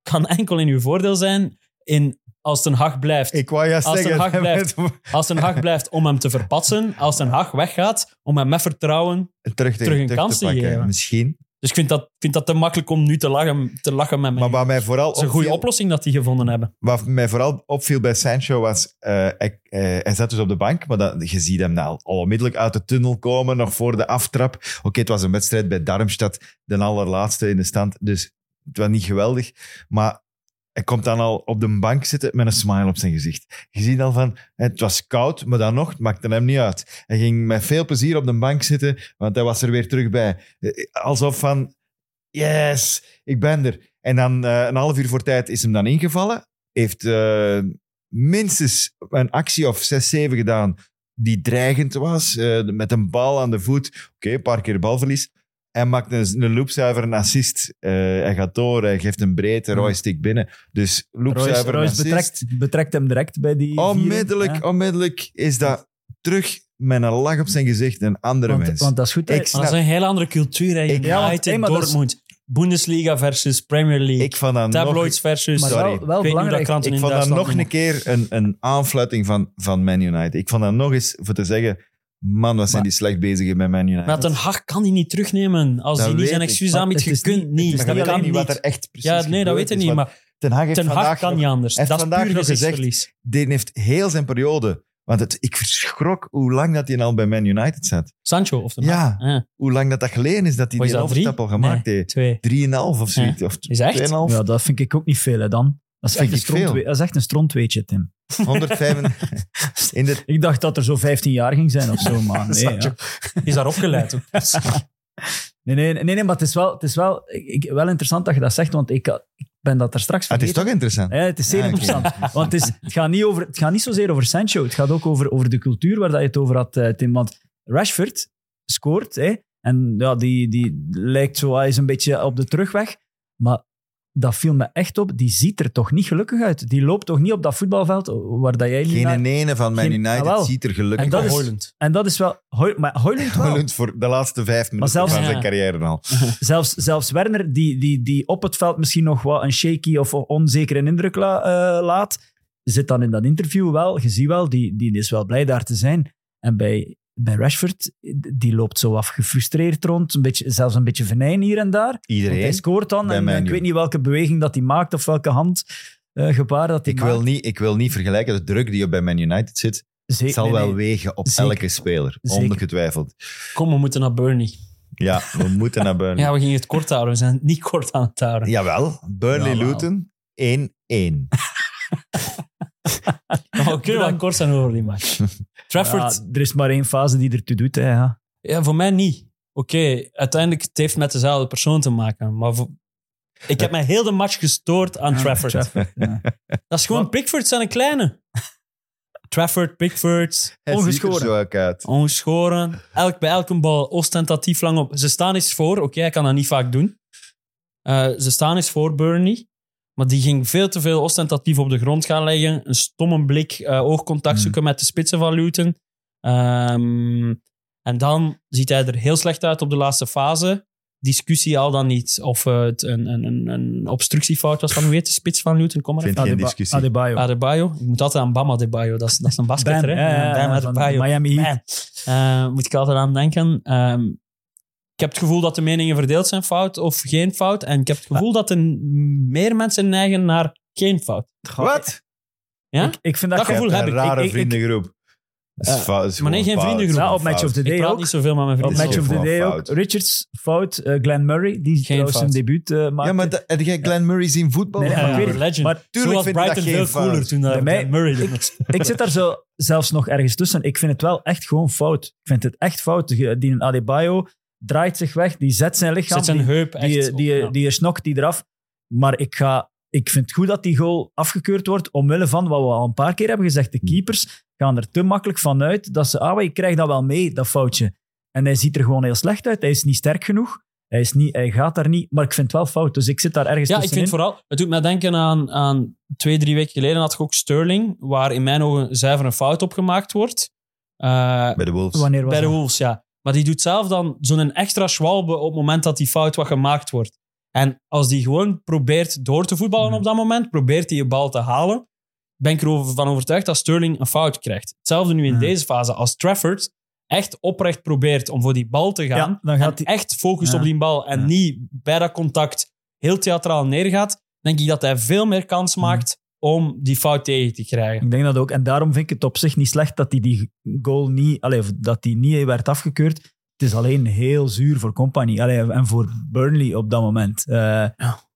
D: kan enkel in uw voordeel zijn. In, als Ten Hag blijft.
C: Ik wou juist
D: Als Ten Hag
C: zeggen...
D: blijft. Als Ten Hag blijft om hem te verpatsen. Als Ten Hag weggaat om hem met vertrouwen
C: terug, te,
D: Terug een
C: terug
D: kans
C: te
D: te
C: pakken,
D: geven.
C: misschien.
D: Dus ik vind dat, ik vind dat te makkelijk om nu te lachen, te lachen met mij.
C: Maar wat mij vooral
D: dat is een goede
C: opviel-
D: oplossing dat die gevonden hebben.
C: Wat mij vooral opviel bij Sancho was, eh, hij, eh, hij zat dus op de bank, maar dat, je ziet hem nou al onmiddellijk uit de tunnel komen, nog voor de aftrap. Oké, het was een wedstrijd bij Darmstadt, de allerlaatste in de stand, dus het was niet geweldig. Maar hij komt dan al op de bank zitten met een smile op zijn gezicht. Je ziet al van, het was koud, maar dan nog, het maakte hem niet uit. Hij ging met veel plezier op de bank zitten, want hij was er weer terug bij. Eh, Alsof van, yes, ik ben er. En dan eh, een half uur voor tijd is hem dan ingevallen. Heeft eh, minstens een actie of 6, 7 gedaan die dreigend was. eh, met een bal aan de voet. Oké, een paar keer balverlies. Hij maakt een, een loopzuiver een assist. Eh, hij gaat door, hij geeft een breedte, Roy stikt binnen. Dus
E: Royce,
C: loopzuiver een
E: Royce
C: assist.
E: betrekt, betrekt hem direct bij die viering,
C: Onmiddellijk,
E: ja.
C: onmiddellijk is dat terug met een lach op zijn gezicht een andere
E: Want,
C: mens.
E: want dat is goed. hè.
C: Ik
D: Maar dat is een heel andere cultuur. Hè. United,
E: Ja, want, hey, maar dat is-
D: Dortmund, Bundesliga versus Premier League,
C: ik vond dat
D: tabloids
C: nog,
D: versus...
E: maar
C: sorry.
E: wel, wel
D: ik weet niet hoe dat
E: belangrijk.
D: kranten
C: ik
D: in
C: vond dat
D: Duitsland
C: nog een
D: noemen.
C: keer een, een aanfluiting van, van Man United. Ik vond dat nog eens voor te zeggen, man, wat zijn die slecht bezigen bij Man United.
D: Maar Ten Hag kan die niet terugnemen
C: Dat
D: als hij niet
C: weet
D: zijn
C: ik.
D: excuus
E: Maar
D: aanbiedt.
E: het
D: Je
E: is niet-
D: kunt
E: het is
D: niet.
E: niet
D: Dat
C: je
D: kan
C: weet niet
D: niet.
C: wat er echt precies
D: Ja, nee, dat
C: gebeurd
D: weet ik
C: is,
D: niet.
C: want
D: Maar
C: Ten Hag heeft
D: Ten Hag
C: vandaag
D: kan
C: nog-
D: niet anders.
C: heeft
D: Dat is
C: vandaag
D: puur
C: nog gezegd-
D: gezichtsverlies.
C: die heeft heel zijn periode. Want het, ik verschrok hoe lang dat hij al bij Man United zat.
D: Sancho of Ten Hag.
C: Ja,
D: Ah,
C: hoe lang dat dat geleden is dat hij
D: Wat is
C: die
D: dat, drie?
C: overstap al gemaakt
D: Nee,
C: heeft.
D: twee.
C: Drieënhalf of zoiets. Of
D: Is echt?
C: tweeënhalf.
E: Ja, dat vind ik ook niet veel hè, dan. Dat is,
C: Vind
E: echt een,
C: ik veel.
E: strontwe- dat is echt een strontweetje, Tim.
C: 105 in de Ah,
E: Ik dacht dat er zo 15 jaar ging zijn of zo, maar nee.
D: Zat je-
E: ja.
D: Is daar opgeleid ook.
E: nee, nee, nee, nee, maar het is wel, het is wel, ik, wel interessant dat je dat zegt, want ik, ik ben dat er straks
C: Ah, het is
E: vergeten.
C: toch interessant.
E: Ja, het is zeer
C: Ah, oké.
E: interessant. Want het, is, het, gaat niet over, het gaat niet zozeer over Sancho. Het gaat ook over, over de cultuur waar dat je het over had, eh, Tim. Want Rashford scoort. Hè, en ja, die, die lijkt zo, hij is een beetje op de terugweg. Maar dat viel me echt op. Die ziet er toch niet gelukkig uit. Die loopt toch niet op dat voetbalveld waar dat jij liep.
C: Geen ene van Man
E: Geen-
C: United
E: jawel.
C: ziet er gelukkig
D: En dat
E: is-
D: Hoylund.
E: En dat is wel... Hoy- maar Hoylund wel.
C: uit voor de laatste vijf minuten
E: zelfs-
C: van zijn
D: Ja.
C: carrière al.
E: Zelfs, zelfs Werner, die, die, die op het veld misschien nog wat een shaky of onzekere indruk la- eh, laat, zit dan in dat interview wel. Je ziet wel, die, die is wel blij daar te zijn. En bij, bij Rashford, die loopt zo af gefrustreerd rond. Een beetje, zelfs een beetje venijn hier en daar. Want hij
C: Iedereen.
E: scoort dan
C: Bij
E: en
C: Man
E: ik
C: U.
E: weet niet welke beweging dat hij maakt of welke hand. eh, gebaar dat hij
C: Ik
E: maakt.
C: wil, niet, ik wil niet vergelijken de druk die op bij Man United zit.
E: Ze-
C: Het zal
E: nee, nee.
C: wel wegen op
E: Zeker.
C: elke speler,
E: Zeker.
C: ongetwijfeld.
D: Kom, we moeten naar Burnley.
C: Ja, we moeten naar Burnley.
D: Ja, we gingen het kort houden. We zijn het niet kort aan het houden.
C: Jawel,
E: Jawel.
C: Burnley-Luton 1-1.
D: Maar we kunnen wel kort zijn over die match. Trafford,
E: Ja, er is maar één fase die ertoe doet. Hè, ja.
D: ja, voor mij niet. Oké, uiteindelijk het heeft met dezelfde persoon te maken. Maar voor- ik heb mij heel de match gestoord aan Trafford.
E: ja.
D: Dat is gewoon
E: Wat?
D: Pickford zijn een kleine. Trafford, Pickford,
C: Hij ziet er
E: Ongeschoren.
C: zo ook uit.
D: ongeschoren. Elk, bij elke bal ostentatief lang op. Ze staan eens voor. Oké, hij kan dat niet vaak doen. Eh, ze staan eens voor Burnley. Maar die ging veel te veel ostentatief op de grond gaan leggen. Een stomme blik, eh, oogcontact
E: Hmm.
D: zoeken met de spitsen van Luton. Ehm, en dan ziet hij er heel slecht uit op de laatste fase. Discussie al dan niet. Of eh, het een, een, een, een obstructiefout was van, hoe heet de spits van Luton? Kom maar
C: Vind geen
E: Adeba-
C: discussie.
E: Adebayo.
D: Adebayo. Ik moet altijd aan Bam Adebayo. Dat is, dat is een basketter,
E: Bam,
D: Ah, hè?
E: ja, ja,
D: Bam
E: ja, van
D: Adebayo.
E: Miami Heat.
D: Bam. Eh, moet ik altijd aan denken. Ehm, ik heb het gevoel dat de meningen verdeeld zijn, fout of geen fout. En ik heb het gevoel dat er meer mensen neigen naar geen fout.
E: Goh,
C: Wat?
D: Ja?
E: Ik, ik vind
D: Dat
E: dat,
C: Je
D: gevoel
C: hebt
D: heb
C: een
D: ik.
C: rare
E: Ik- ik-
C: vriendengroep. Dat is
D: Eh,
C: fout, dat is
D: maar nee,
C: gewoon
D: geen
C: fout.
D: vriendengroep.
E: Ja, op Match of the
D: ik
E: Day
D: praat
E: ook.
D: niet zoveel met mijn
E: Op
C: Dit
D: vrienden.
C: is
E: Match of the
C: gewoon
E: Day
C: fout.
E: ook. Richards fout. eh, Glenn Murray, die trouwens
D: fout.
E: zijn debuut eh maakte.
C: Ja, maar dat- heb jij Glenn Murray zien voetballen? Ah,
E: Nee, nee, maar ik weet het.
D: eh, legend.
E: Maar
D: Toen
C: tuurlijk
D: was
C: vind ik dat
D: Brighton
C: geen
D: veel
C: fout.
D: cooler toen daar
E: Bij mij-
D: Glenn Murray er was.
E: ik zit daar zo zelfs nog ergens tussen. Ik vind het wel echt gewoon fout. Ik vind het echt fout. Die- Die Adebayo draait zich weg. Die zet zijn lichaam.
D: Zet Dus zijn
E: die,
D: heup echt
E: die,
D: op,
E: die,
D: ja.
E: die snokt die eraf. Maar ik, ga, ik vind het goed dat die goal afgekeurd wordt. Omwille van wat we al een paar keer hebben gezegd.
D: Hmm.
E: De keepers gaan er te makkelijk van uit dat ze. Ah, maar je krijgt dat wel mee, dat foutje. En hij ziet er gewoon heel slecht uit. Hij is niet sterk genoeg. Hij, is niet, hij gaat daar niet. Maar ik vind het wel fout. Dus ik zit daar ergens
D: Ja, ik
E: tussenin.
D: vind vooral... Het doet mij denken aan, aan twee, drie weken geleden had ik ook Sterling, waar in mijn ogen zuiver een fout op gemaakt wordt. Eh,
C: Bij de Wolves.
E: Wanneer was
D: bij de
E: dat?
D: Wolves, ja. Maar die doet zelf dan zo'n extra schwalbe op het moment dat die fout wat gemaakt wordt. En als die gewoon probeert door te voetballen
E: Mhm.
D: op dat moment, probeert hij je bal te halen, ben ik ervan overtuigd dat Sterling een fout krijgt. Hetzelfde nu in
E: Ja.
D: deze fase. Als Trafford echt oprecht probeert om voor die bal te gaan,
E: Ja, dan gaat
D: en
E: hij-
D: echt focust
E: Ja.
D: op die bal en
E: Ja.
D: niet bij dat contact heel theatraal neergaat, denk ik dat hij veel meer kans
E: Hmm.
D: maakt om die fout tegen te krijgen.
E: Ik denk dat ook. En daarom vind ik het op zich niet slecht dat hij die goal niet, allee, of dat die niet werd afgekeurd. Het is alleen heel zuur voor Company allee, en voor Burnley op dat moment. Eh,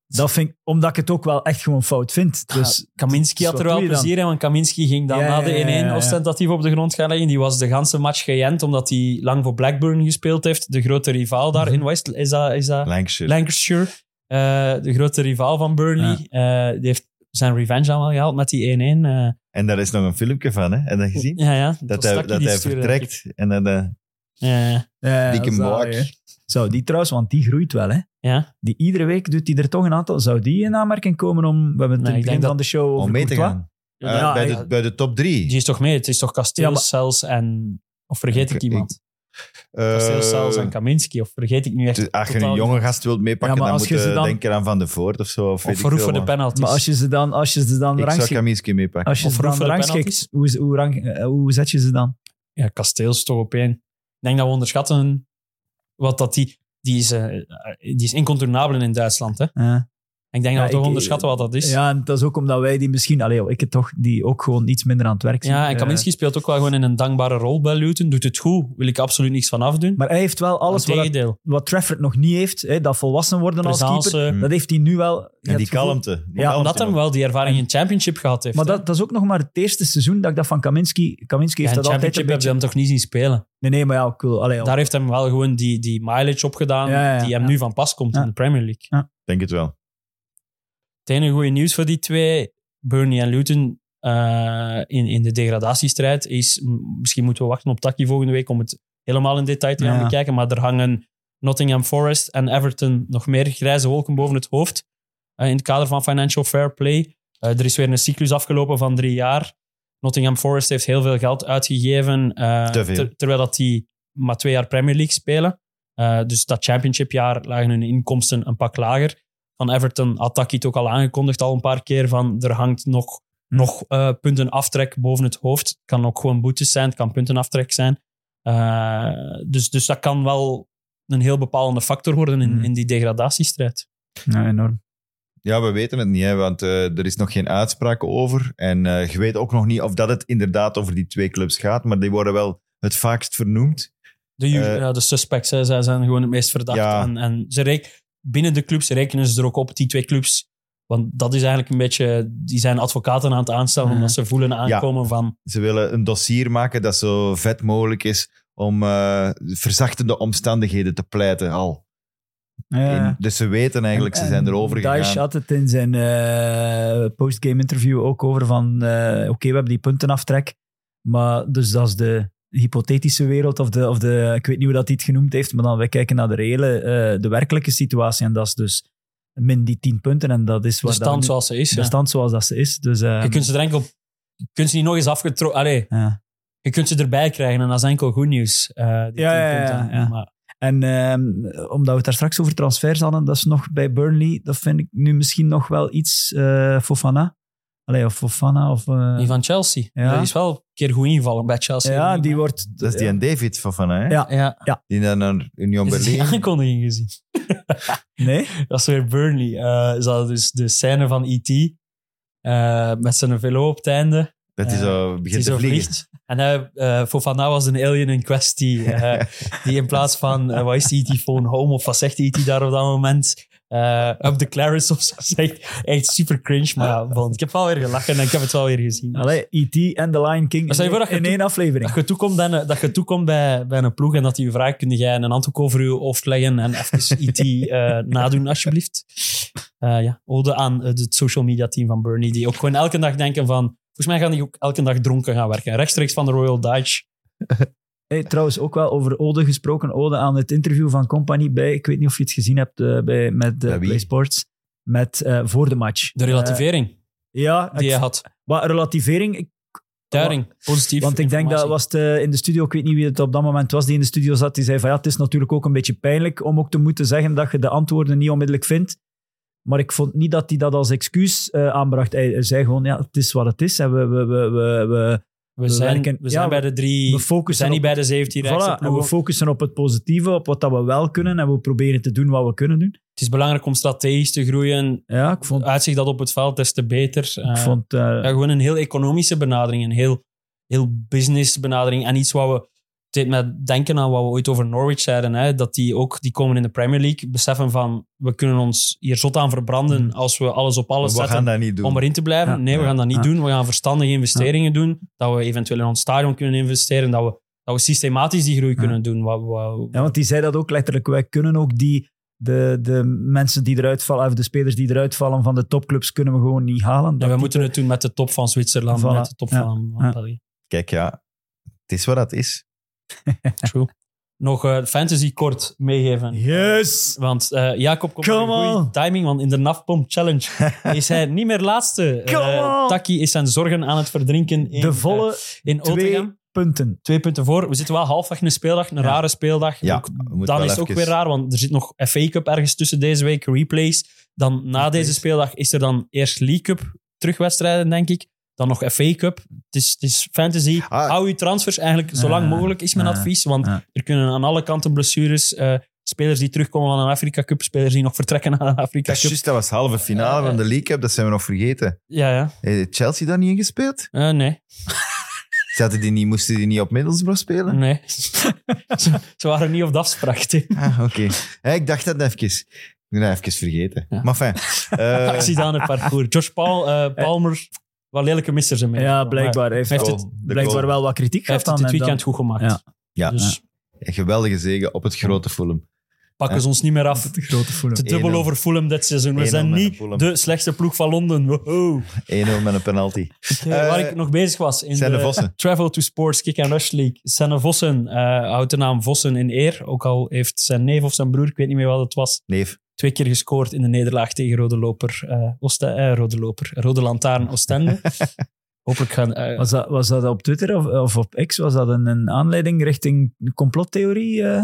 E: dat vind ik, omdat ik het ook wel echt gewoon fout vind. Dus
D: Kaminski had
E: wat
D: er
E: doe
D: wel
E: je dan?
D: plezier in, want Kaminski ging dan
E: Ja,
D: na de 1-1
E: ja, ja, ja, ja.
D: ostentatief op de grond gaan liggen. Die was de ganse match geënt, omdat hij lang voor Blackburn gespeeld heeft. De grote rivaal
E: Mhm.
D: daar in West... Is dat, is dat
C: Lancashire.
D: Lancashire? Eh, de grote rivaal van Burnley. Eh, die heeft zijn revenge aan wel gehaald met die 1-1. eh.
C: En daar is nog een filmpje van, hè? Heb je dat gezien?
D: ja, ja.
C: Dat
D: was
C: hij,
D: Taki
C: dat
D: die
C: hij
D: stuurde.
C: vertrekt en dat eh,
D: Ja, ja.
E: eh,
C: dikke
E: zalig,
C: Mark.
E: hè. Zou die trouwens, want die groeit wel. Hè?
D: Ja.
E: Die, iedere week doet hij er toch een aantal. Zou die in aanmerking komen om. We hebben het
D: Nee,
E: in
D: ik
E: het begin
D: denk
E: van de show over
C: om mee te
E: Courtois.
C: gaan.
D: Ja,
C: Eh,
E: ja,
C: bij,
E: ja.
C: de, bij de top drie.
D: Die is toch mee? Het is toch
E: Ja, maar-
D: Kasteels, Cels en... Of vergeet
C: Ik-
D: ik iemand?
C: Eh,
D: Kasteels, Cels en Kaminski. Of vergeet ik nu echt...
C: dus als je een
D: totaal-
C: jonge gast wilt meepakken,
E: Ja, maar
C: dan
E: als
C: moet
E: je ze
C: je
E: dan-
C: denken aan Van de Voort of zo. Of,
D: Of
C: weet
D: Verhoeven
C: ik veel,
D: voor de
C: man.
D: penalties.
E: Maar als je ze dan, als je ze dan
C: Ik zou
E: rangschikt.
C: Kaminski meepakken.
E: Als je
D: Of
E: ze dan
D: roepen de
E: rangschikt,
D: penalties.
E: hoe, hoe, rang, eh, hoe zet je ze dan?
D: ja, kasteels toch op één. Ik denk dat we eh, onderschatten wat dat die... Die is, eh, die is incontournabel in Duitsland. Hè?
E: Ja.
D: En Ik denk
E: Ja,
D: dat we toch
E: ik-
D: onderschatten wat dat is. Ja,
E: Ja, en dat is ook omdat wij die misschien, allee, ik het toch, die ook gewoon iets minder aan het werk zien.
D: en
E: Eh,
D: Kaminski speelt ook wel gewoon in een dankbare rol bij Luton. Doet het goed, wil ik absoluut niks van afdoen.
E: maar hij heeft wel alles wat,
D: Tegendeel.
E: wat Trafford nog niet heeft, hè, dat volwassen worden als
D: Presence,
E: keeper, dat heeft hij nu wel. Je
C: En
E: hebt
C: die
E: het gevoel-
C: kalmte. Die
E: Ja,
C: kalmte
D: eh, omdat hij
C: nog.
D: wel die ervaring in championship gehad heeft.
E: Maar
D: hè.
E: dat, dat is ook nog maar het eerste seizoen dat ik dat van Kaminski... Kaminski
D: ja,
E: heeft
D: in
E: dat altijd een
D: championship heb je
E: beetje...
D: hem toch niet zien spelen.
E: Nee, nee, maar ja, cool. Allee, ja.
D: Daar heeft hem wel gewoon die, die mileage opgedaan
E: Ja, ja,
D: die hem
E: ja.
D: nu van pas komt
E: Ja.
D: in de Premier League.
C: Denk het wel.
D: Het enige goede nieuws voor die twee, Burnley en Luton, eh, in, in de degradatiestrijd, is... m- Misschien moeten we wachten op Taki volgende week om het helemaal in detail te gaan
E: Ja.
D: bekijken, maar er hangen Nottingham Forest en Everton nog meer grijze wolken boven het hoofd eh, in het kader van Financial Fair Play. Eh, er is weer een cyclus afgelopen van drie jaar. Nottingham Forest heeft heel veel geld uitgegeven, eh,
C: Te veel.
D: terwijl dat die maar twee jaar Premier League spelen. Eh, dus dat championshipjaar lagen hun inkomsten een pak lager. Van Everton had Taki het ook al aangekondigd al een paar keer, van er hangt nog,
E: Hm.
D: nog eh, puntenaftrek boven het hoofd. Het kan ook gewoon boetes zijn, het kan puntenaftrek zijn. Eh, dus, dus dat kan wel een heel bepalende factor worden in,
E: Mm.
D: in die degradatiestrijd.
E: Ja, enorm.
C: Ja, we weten het niet, hè, want eh, er is nog geen uitspraak over. En eh, je weet ook nog niet of dat het inderdaad over die twee clubs gaat, maar die worden wel het vaakst vernoemd.
D: De, ju-
C: Eh.
D: ja, de suspects, hè, zij zijn gewoon het meest verdacht.
C: Ja.
D: En, en ze rek- binnen de clubs rekenen ze er ook op, die twee clubs. Want dat is eigenlijk een beetje... Die zijn advocaten aan het aanstellen,
E: Ja.
D: omdat ze voelen aankomen van...
C: Ze willen een dossier maken dat zo vet mogelijk is om eh, verzachtende omstandigheden te pleiten al. In- dus ze weten eigenlijk, ze zijn erover gegaan.
E: Daesh had het in zijn eh, postgame interview ook over van... eh, Oké, we hebben die puntenaftrek, maar dus dat is de hypothetische wereld of de, of de... Ik weet niet hoe dat hij het genoemd heeft, maar dan wij kijken naar de reële, eh, de werkelijke situatie en dat is dus min die tien punten en dat is
D: de
E: waar dat
D: stand
E: nu-
D: zoals ze is.
E: de
D: ja.
E: stand zoals dat ze is. Dus, eh,
D: Je kunt ze er enkel... Je kunt ze niet nog eens afgetrokken... Allee,
E: ja.
D: je kunt ze erbij krijgen en dat is enkel goed nieuws. eh, die
E: Ja,
D: tien
E: ja, ja,
D: punten.
E: ja.
D: Maar
E: En ehm, omdat we het daar straks over transfers hadden, dat is nog bij Burnley, dat vind ik nu misschien nog wel iets eh Fofana. Allee, of Fofana, of... eh,
D: die van Chelsea.
E: Ja.
D: Die is wel een keer goed ingevallen bij Chelsea.
E: ja, die wordt...
C: Dat is die en David van Van, hè?
E: Ja.
D: Ja,
C: Die dan naar Union
D: is die
C: Berlin.
D: aankondiging gezien.
E: Nee?
D: Dat is weer Burnley. Eh, is dat dus de scène van E.T. eh, met zijn velo op het einde.
C: Dat hij
D: Ja.
C: zo
D: Die
C: begint
D: zo
C: te vliegen.
D: vliegt. En hij, eh Fofana was een alien in kwestie. eh, die in plaats van, eh, wat is die E.T. phone home? Of wat zegt E.T. daar op dat moment? eh up the Clarence of zo. Echt, echt super cringe. Maar ja, bon, ik heb wel weer gelachen en ik heb het wel weer gezien.
E: Allee, E.T. en The Lion King
D: Maar stel je voor
E: in,
D: dat je
E: in
D: toe-
E: één aflevering.
D: Dat je toekomt bij een, dat je toekomt bij, bij een ploeg en dat die je vraagt, kun jij een handdoek over je hoofd leggen en even IT eh, nadoen, alsjeblieft. Eh, ja, ode aan eh, het social media team van Bernie, die ook gewoon elke dag denken van, volgens mij gaan die ook elke dag dronken gaan werken. Rechtstreeks van de Royal Dutch.
E: Hey, trouwens, ook wel over Ode gesproken. Ode aan het interview van Company bij... Ik weet niet of je het gezien hebt eh, bij, met eh
C: Bij wie?
E: Play Sports. Met, eh, voor de match.
D: De relativering
E: Eh, ja,
D: die
E: ik-
D: hij had.
E: maar relativering, ik-
D: Duiding, positief.
E: Want ik denk dat
D: informatie.
E: was het, eh, in de studio, ik weet niet wie het op dat moment was die in de studio zat, die zei van ja, het is natuurlijk ook een beetje pijnlijk om ook te moeten zeggen dat je de antwoorden niet onmiddellijk vindt. Maar ik vond niet dat hij dat als excuus eh, aanbracht. Hij hij zei gewoon, ja, het is wat het is. En we, we, we, we, we,
D: We zijn,
E: werken-
D: we zijn
E: ja,
D: bij de drie... We,
E: we
D: zijn
E: focussen
D: niet
E: op,
D: bij de 17 rijkste
E: voilà, en we
D: ploegen.
E: focussen op het positieve, op wat dat we wel kunnen. En we proberen te doen wat we kunnen doen.
D: Het is belangrijk om strategisch te groeien.
E: Ja, ik vond...
D: Uitzicht dat op het veld des te beter.
E: Ik
D: Eh,
E: vond eh,
D: Ja, gewoon een heel economische benadering, een heel, heel business benadering. En iets wat we, het deed me denken aan wat we ooit over Norwich zeiden, hè, dat die ook, die komen in de Premier League, beseffen van, we kunnen ons hier zot aan verbranden
E: Mm.
D: als we alles op alles
C: We gaan
D: zetten
C: dat niet doen.
D: om erin te blijven.
E: Ja.
D: nee, we
C: Ja.
D: gaan dat niet
E: Ja.
D: doen. We gaan verstandige investeringen doen, dat we eventueel in ons stadion kunnen investeren, dat we, dat we systematisch die groei kunnen doen. Wat, wat-
E: Ja, want die zei dat ook letterlijk. Wij kunnen ook die, de, de mensen die eruit vallen, of de spelers die eruit vallen van de topclubs, kunnen we gewoon niet halen.
D: en
E: Dat
D: we
E: die-
D: moeten het doen met de top van Zwitserland,
E: Voilà.
D: met de top
E: Ja.
D: van, van
E: Ja.
D: België.
C: Kijk, ja. Het is wat dat is.
D: True. Nog eh, fantasy kort meegeven.
E: Yes!
D: Want eh, Jacob komt
E: Come
D: met een goede
E: on.
D: timing, want in de NAFPOM Challenge is hij niet meer laatste.
E: Come
D: Eh,
E: on.
D: Taki is zijn zorgen aan het verdrinken in,
E: De volle
D: eh, in
E: twee
D: Otegem.
E: punten.
D: Twee punten voor. We zitten wel halfweg in een speeldag, een
E: Ja.
D: rare speeldag.
C: Ja,
D: Ook-
C: we moeten
D: dan
C: wel
D: is het ook
C: even-
D: weer raar, want er zit nog FA Cup ergens tussen deze week, replays. Dan na deze speeldag is er dan eerst League Cup terugwedstrijden, denk ik. Dan nog FA Cup. Het is, het is fantasy.
C: Ah.
D: Hou je transfers eigenlijk zo
E: Ja,
D: lang mogelijk, is mijn
E: ja,
D: advies. Want
E: ja.
D: er kunnen aan alle kanten blessures, eh, Spelers die terugkomen van een Afrika Cup, spelers die nog vertrekken naar een Afrika
C: Dat, is
D: Cup.
C: juist, dat was halve
D: Eh,
C: finale van de League Cup, dat zijn we nog vergeten.
D: Ja, ja.
C: Heeft Chelsea daar niet in gespeeld?
D: Eh, nee,
C: Zaten die niet, moesten die niet op Middlesbrough spelen?
D: nee. ze, ze waren niet op de afspraak. hè.
C: Ah, oké. Hé, ik dacht dat even. Ik ben dat even vergeten.
D: Ja.
C: Maar fijn. Eh,
D: Acties aan het parcours. Josh Paul, eh, Palmer, wat lelijke missers in
E: Ja, blijkbaar. Hij heeft,
D: Hij heeft
C: goal,
E: het Oh,
C: de
E: blijkbaar
C: goal.
E: wel wat kritiek
D: Hij heeft
E: gehad
D: het
E: aan
D: dit
E: hem dan.
D: weekend goed gemaakt.
C: Ja,
D: Dus
C: een geweldige zegen op het grote Fulham.
D: pakken ze ons niet meer af.
E: De grote
D: Te
E: voelen.
D: dubbel
C: 1-0.
D: over Fulham dit seizoen. We
C: 1-0
D: zijn
C: met een
D: niet
C: Fulham.
D: de slechtste ploeg van Londen. Wow.
C: 1-0 met een penalty.
D: Eh, waar ik nog bezig was. In
C: Senne
D: de
C: Vossen.
D: Travel to Sports Kick and Rush League. Senne Vossen eh, houdt de naam Vossen in eer. Ook al heeft zijn neef of zijn broer, ik weet niet meer wat het was,
C: Neef.
D: twee keer gescoord in de nederlaag tegen Rode Loper. eh, Ooste- eh, Rode Loper. Rode Lantaarn Oostende. Hopelijk gaan... eh,
E: Was dat, was dat op Twitter of, of op X? Was dat een, een aanleiding richting complottheorie, eh,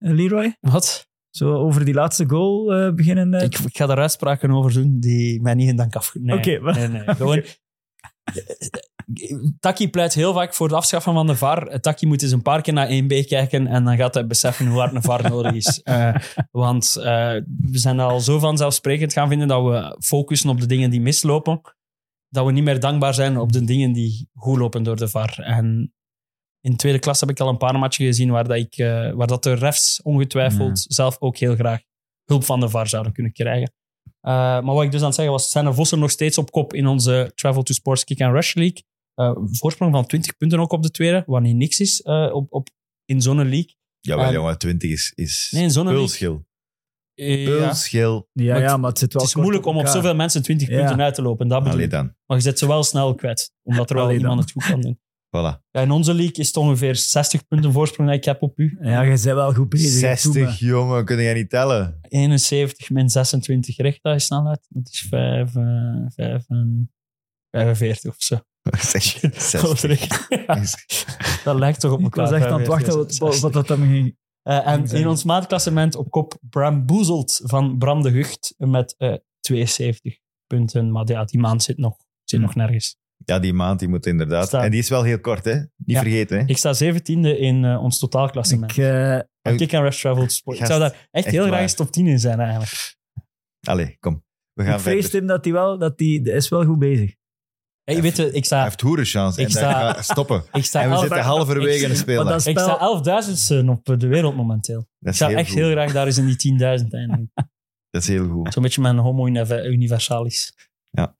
E: Leroy?
D: wat?
E: Zo over die laatste goal eh, beginnen. eh,
D: Ik, ik ga daar uitspraken over doen die mij niet in dank af... Nee,
E: Oké, maar-
D: nee, nee. Gewoon... Taki pleit heel vaak voor het afschaffen van de VAR. Taki moet eens een paar keer naar 1B kijken en dan gaat hij beseffen hoe hard een VAR nodig is. Eh, want eh, we zijn al zo vanzelfsprekend gaan vinden dat we focussen op de dingen die mislopen, dat we niet meer dankbaar zijn op de dingen die goed lopen door de VAR. En in de tweede klas heb ik al een paar matchen gezien waar, dat ik, eh, waar dat de refs ongetwijfeld zelf ook heel graag hulp van de VAR zouden kunnen krijgen. Eh, maar wat ik dus aan het zeggen was, zijn de Vossen nog steeds op kop in onze Travel to Sports Kick and Rush League. Eh, voorsprong van 20 punten ook op de tweede, wat niet niks is eh, op, op, in zo'n league.
C: Jawel,
D: Ehm,
C: jongen, 20 is. is
D: Nee, in zo'n league.
C: Pulschil.
D: Eh, ja.
C: Pulschil.
E: ja,
D: maar
E: ja,
D: het-
E: maar het zit wel
D: Het is
E: kort
D: moeilijk om op
E: elkaar.
D: zoveel mensen 20
E: Ja.
D: punten uit te lopen. Dat bedoel
C: Allee
D: ik.
C: dan.
D: Maar je zet ze wel snel kwijt, omdat er wel
E: Allee dan.
D: iemand het goed kan doen.
C: Voilà.
D: Ja, in onze league is het ongeveer 60 punten voorsprong dat ik heb op u.
E: Ja, je bent wel goed bezig. hè, Toema.
C: 60, jongen, kun jij niet tellen?
D: 71 min 26 recht dat is snelheid. Dat is eh, 5, 5 45 of zo.
C: Zeg,
D: Goed
C: 60.
D: recht. Ja, dat lijkt toch op
E: Ik
D: elkaar.
E: was echt aan het
D: 45,
E: wachten wat, wat,
D: 60.
E: wat dat dan ging.
D: Eh, en in ons maatklassement op kop Bramboezeld van Bram de Gucht met eh, 72 punten. Maar ja, die maand zit nog, zit nog nergens.
C: Ja, die maand die moet inderdaad.
D: Staan.
C: En die is wel heel kort, hè? Niet
D: Ja.
C: vergeten, hè?
D: Ik sta 17e in eh, ons totaalklassement.
E: Ik, eh,
D: En Kick and Rush Travel Sport. Ik
C: Gast,
D: zou daar echt
C: echt
D: heel graag
C: waar.
D: eens top 10 in zijn eigenlijk.
C: Allee, kom. We
E: ik
C: gaan
E: vrees
C: verder.
E: hem dat hij wel, dat hij hij is wel goed bezig.
D: Hey, weet je, ik
C: Hij
D: sta,
C: heeft hoerenchance.
D: Ik
C: En
D: sta-
C: dan ga stoppen.
D: ik sta,
C: En we
D: elf-
C: zitten halverwege in de
E: Maar
C: speler.
E: dat
D: ik
E: spel,
D: sta 11.000 op eh, de wereld momenteel.
C: Dat
D: Ik
C: is
D: zou echt
C: goed.
D: heel graag daar eens in die 10.000 eindigen.
C: Dat is heel goed.
D: Zo'n beetje mijn homo unive- universalis.
C: Ja.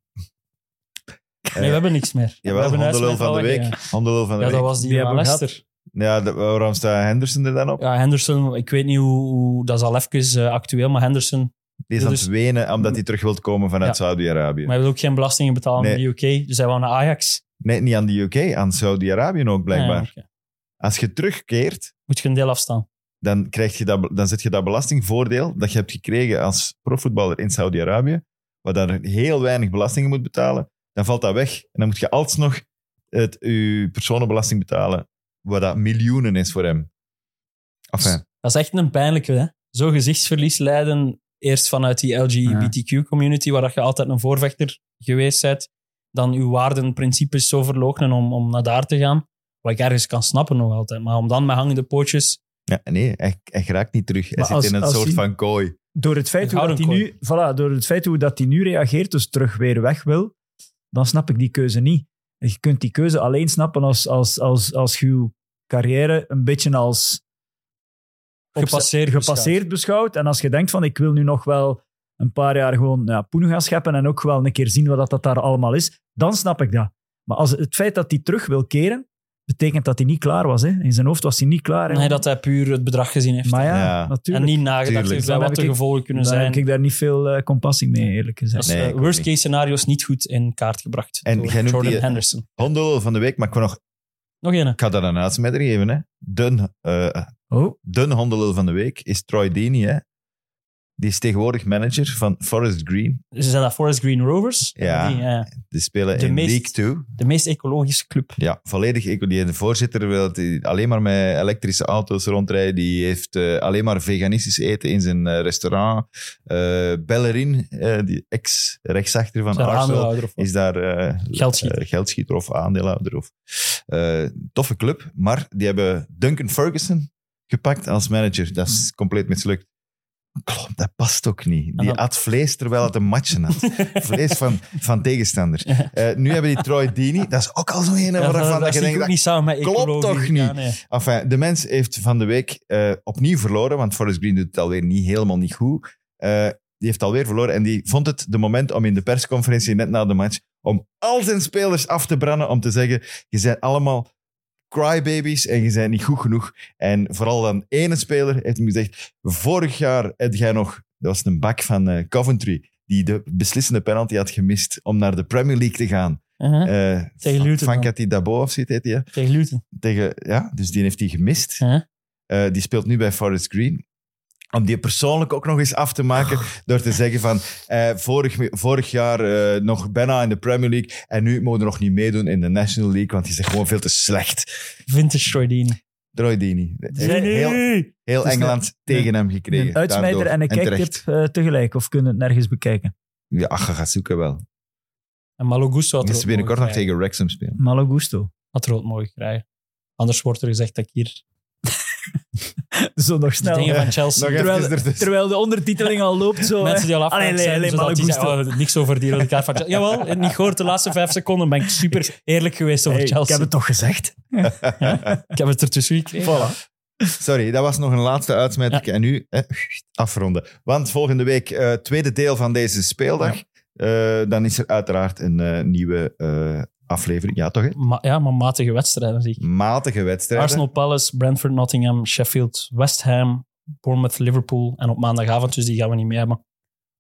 D: Nee, we hebben niks meer. we
C: Jawel,
D: hebben
C: hondelul
D: huiswerk
C: van de
D: al
C: week.
D: weggegeven.
C: Hondelul van de
D: Ja, dat
C: week.
D: was die,
E: Die
D: van
E: hebben we
D: Leicester.
C: Ja, de- waarom staat Henderson er dan op?
D: Ja, Henderson, ik weet niet hoe, hoe- dat is al even eh, actueel, maar Henderson,
C: Die is aan het
D: dus-
C: wenen omdat hij terug wilt komen vanuit
D: Ja.
C: Saudi-Arabië.
D: maar hij wil ook geen belastingen betalen
C: Nee.
D: in de UK, dus hij wou naar Ajax.
C: Nee, niet aan de UK, aan Saudi-Arabië ook blijkbaar.
D: Ah, Ja, oké.
C: Als je terugkeert,
D: Moet je een deel afstaan.
C: dan, krijg je dat, dan zit je dat belastingvoordeel dat je hebt gekregen als profvoetballer in Saudi-Arabië, waar dan heel weinig belastingen moet betalen, dan valt dat weg. En dan moet je alsnog het, je personenbelasting betalen, waar dat miljoenen is voor hem. Enfin,
D: Dat is echt een pijnlijke, hè? Zo gezichtsverlies lijden, eerst vanuit die LGBTQ-community, waar dat je altijd een voorvechter geweest bent, dan uw waarden en principes zo verloochenen om, om naar daar te gaan, wat ik ergens kan snappen nog altijd. Maar om dan met hangende pootjes...
C: ja, nee, hij, hij raakt niet terug. Hij
E: Maar
C: zit
E: als-
C: in een
E: als
C: soort
E: hij-
C: van kooi.
E: door, het feit
D: Ik
E: hoe
D: hou
E: dat hij
D: een
E: nu, voilà, door het feit hoe dat hij nu reageert, dus terug weer weg wil, dan snap ik die keuze niet. Je kunt die keuze alleen snappen als, als, als, als je uw carrière een beetje als
D: Gepasseerd
E: gepasseerd beschouwt. En als je denkt van, ik wil nu nog wel een paar jaar gewoon ja, poen gaan scheppen en ook wel een keer zien wat dat, dat daar allemaal is, dan snap ik dat. Maar als het feit dat hij terug wil keren, betekent dat hij niet klaar was. Hè? In zijn hoofd was hij niet klaar. hè.
D: Nee, dat hij puur het bedrag gezien heeft.
E: maar ja,
C: Ja.
E: natuurlijk.
D: en niet nagedacht
C: tuurlijk.
D: heeft bij
E: Dan
D: wat
E: heb
D: de
E: ik-
D: gevolgen kunnen
E: dan
D: zijn.
E: heb ik daar niet veel eh, compassie mee, eerlijk gezegd.
D: Als
C: Nee, ik ook
D: worst
C: niet.
D: case scenario's niet goed in kaart gebracht.
C: En
D: door
C: jij noemt
D: Jordan
C: die-
D: Henderson.
C: Hondel van de week, maar ik, wil nog,
D: Nog één.
C: ik ga dat een uitsmijter geven. Hè. Dun, eh,
E: Oh,
C: dun hondelul van de week is Troy Deeney. Hè? Die is tegenwoordig manager van Forest Green.
D: Ze zijn dat Forest Green Rovers.
C: Ja.
D: Die, eh,
C: Die spelen
D: De
C: in
D: meest-
C: League 2.
D: de meest ecologische club.
C: Ja, volledig. eco- Die de voorzitter wil dat hij alleen maar met elektrische auto's rondrijden. Die heeft eh, alleen maar veganistisch eten in zijn eh, restaurant. Eh Bellerin, eh, die ex-rechtsachter van
D: Zijn
C: Arsenal,
D: aandeelhouder of wat?
C: is daar eh,
D: Geldschieter.
C: eh, geldschieter of aandeelhouder. Of, eh, toffe club, maar die hebben Duncan Ferguson gepakt als manager. Dat is compleet mislukt. Klopt, dat past ook niet.
D: Hmm. En
C: Die
D: dan-
C: at vlees terwijl het een matje had. Vlees van, van tegenstander. Eh, nu hebben die Troy Dini. Dat is ook al zo'n ene
D: dat,
C: waarvan
D: dat
C: dat je
D: zie ik
C: denkt...
D: ook
C: dat-
D: niet samen met
C: klopt
D: ecologie.
C: toch
D: Ja,
C: niet?
D: nee.
C: Enfin, de mens heeft van de week eh, opnieuw verloren, want Forrest Green doet het alweer niet, helemaal niet goed. Eh, die heeft alweer verloren en die vond het de moment om in de persconferentie net na de match om al zijn spelers af te branden om te zeggen, je bent allemaal crybabies en je bent niet goed genoeg. En vooral dan ene speler heeft hem gezegd, vorig jaar had jij nog, dat was een bak van eh, Coventry, die de beslissende penalty had gemist om naar de Premier League te gaan.
D: Uh-huh.
C: Eh
D: Tegen Luton dan.
C: Fankati Dabo of zoiets heet die, hè?
D: Tegen Luton.
C: tegen, ja, dus die heeft hij gemist.
D: Huh?
C: Eh, die speelt nu bij Forest Green. Om die persoonlijk ook nog eens af te
E: Oh.
C: maken door te zeggen van eh, vorig, vorig jaar eh, nog bijna in de Premier League en nu mogen we nog niet meedoen in de National League, want die is gewoon veel te slecht.
D: Vintage Troy Deeney.
C: Troy Deeney. Heeft Heel, heel
E: Het is
C: Engeland tegen hem gekregen.
E: Een uitsmijter
C: daardoor.
E: en een
C: terecht.
E: kijktip eh, tegelijk. Of kunnen we het nergens bekijken.
C: Ja, ach, je gaat zoeken wel.
D: En Malo Gusto had
C: Die
D: er
C: is
D: ook
C: binnenkort nog
D: mogen
C: tegen
D: krijgen.
C: Wrexham spelen.
E: Malo gusto.
D: Had er ook mooi krijgen. Anders wordt er gezegd dat ik hier
E: Zo Nou, nog
D: de
E: snel.
D: dingen
C: ja. dus.
D: van Chelsea...
C: Nog even
E: Terwijl,
C: ertussen.
E: terwijl de ondertiteling al loopt. Zo, hè.
D: Mensen die al
E: Allee,
D: afgehaald
E: allee,
D: zijn,
E: allee,
D: zodat die
E: Malo
D: zeggen, oh, niks over die rode kaart van Chelsea. Jawel, het niet gehoord de laatste vijf seconden ben ik super eerlijk geweest over
E: Hey,
D: Chelsea.
E: Ik heb het toch gezegd?
D: ik heb het ertussen gekregen.
E: Voilà.
C: Sorry, dat was nog een laatste uitsmijter. En nu hè, afronden. Want volgende week, eh tweede deel van deze speeldag. Eh, dan is er uiteraard een eh, nieuwe eh, aflevering. Ja, toch? Hè?
D: Ma- ja, maar matige wedstrijden zie ik.
C: Matige wedstrijden.
D: Arsenal Palace, Brentford, Nottingham, Sheffield, West Ham, Bournemouth, Liverpool. En op maandagavond, dus die gaan we niet meer hebben.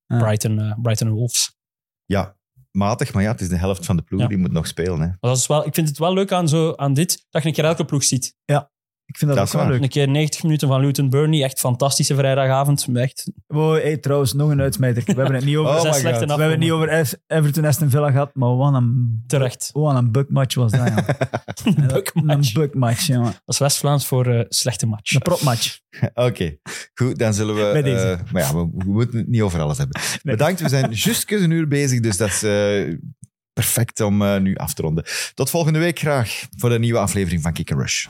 E: Ah.
D: Brighton, eh, Brighton en Wolves.
C: Ja, matig. Maar ja, het is de helft van de ploeg.
D: Ja.
C: Die moet nog spelen. Hè.
D: Maar dat is wel, ik vind het wel leuk aan, zo, aan dit, dat je een keer elke ploeg ziet.
E: Ik vind dat,
C: Dat
E: ook
C: is
E: wel
C: waar.
E: leuk.
D: Een keer 90 minuten van Luton Burnley, echt fantastische vrijdagavond. Echt,
E: Wow, hey, trouwens, nog een uitsmijter. We hebben het niet over,
C: Oh
E: we
D: zijn
C: my
D: slechte
C: God.
E: hebben het niet
D: afkomen.
E: over F- Everton Aston Villa gehad, maar wat een,
D: Terecht.
E: wat een bugmatch was dat. ja.
D: Bukmatch.
E: Een bugmatch, jongen.
D: Dat is West-Vlaams voor eh, slechte match.
E: Een propmatch.
C: Oké, goed. Dan zullen we...
E: Bij deze.
C: eh, maar ja, we, we moeten het niet over alles hebben.
E: Nee.
C: Bedankt. We zijn juist een uur bezig. Dus dat is eh, perfect om eh, nu af te ronden. Tot volgende week graag voor de nieuwe aflevering van Kick and Rush.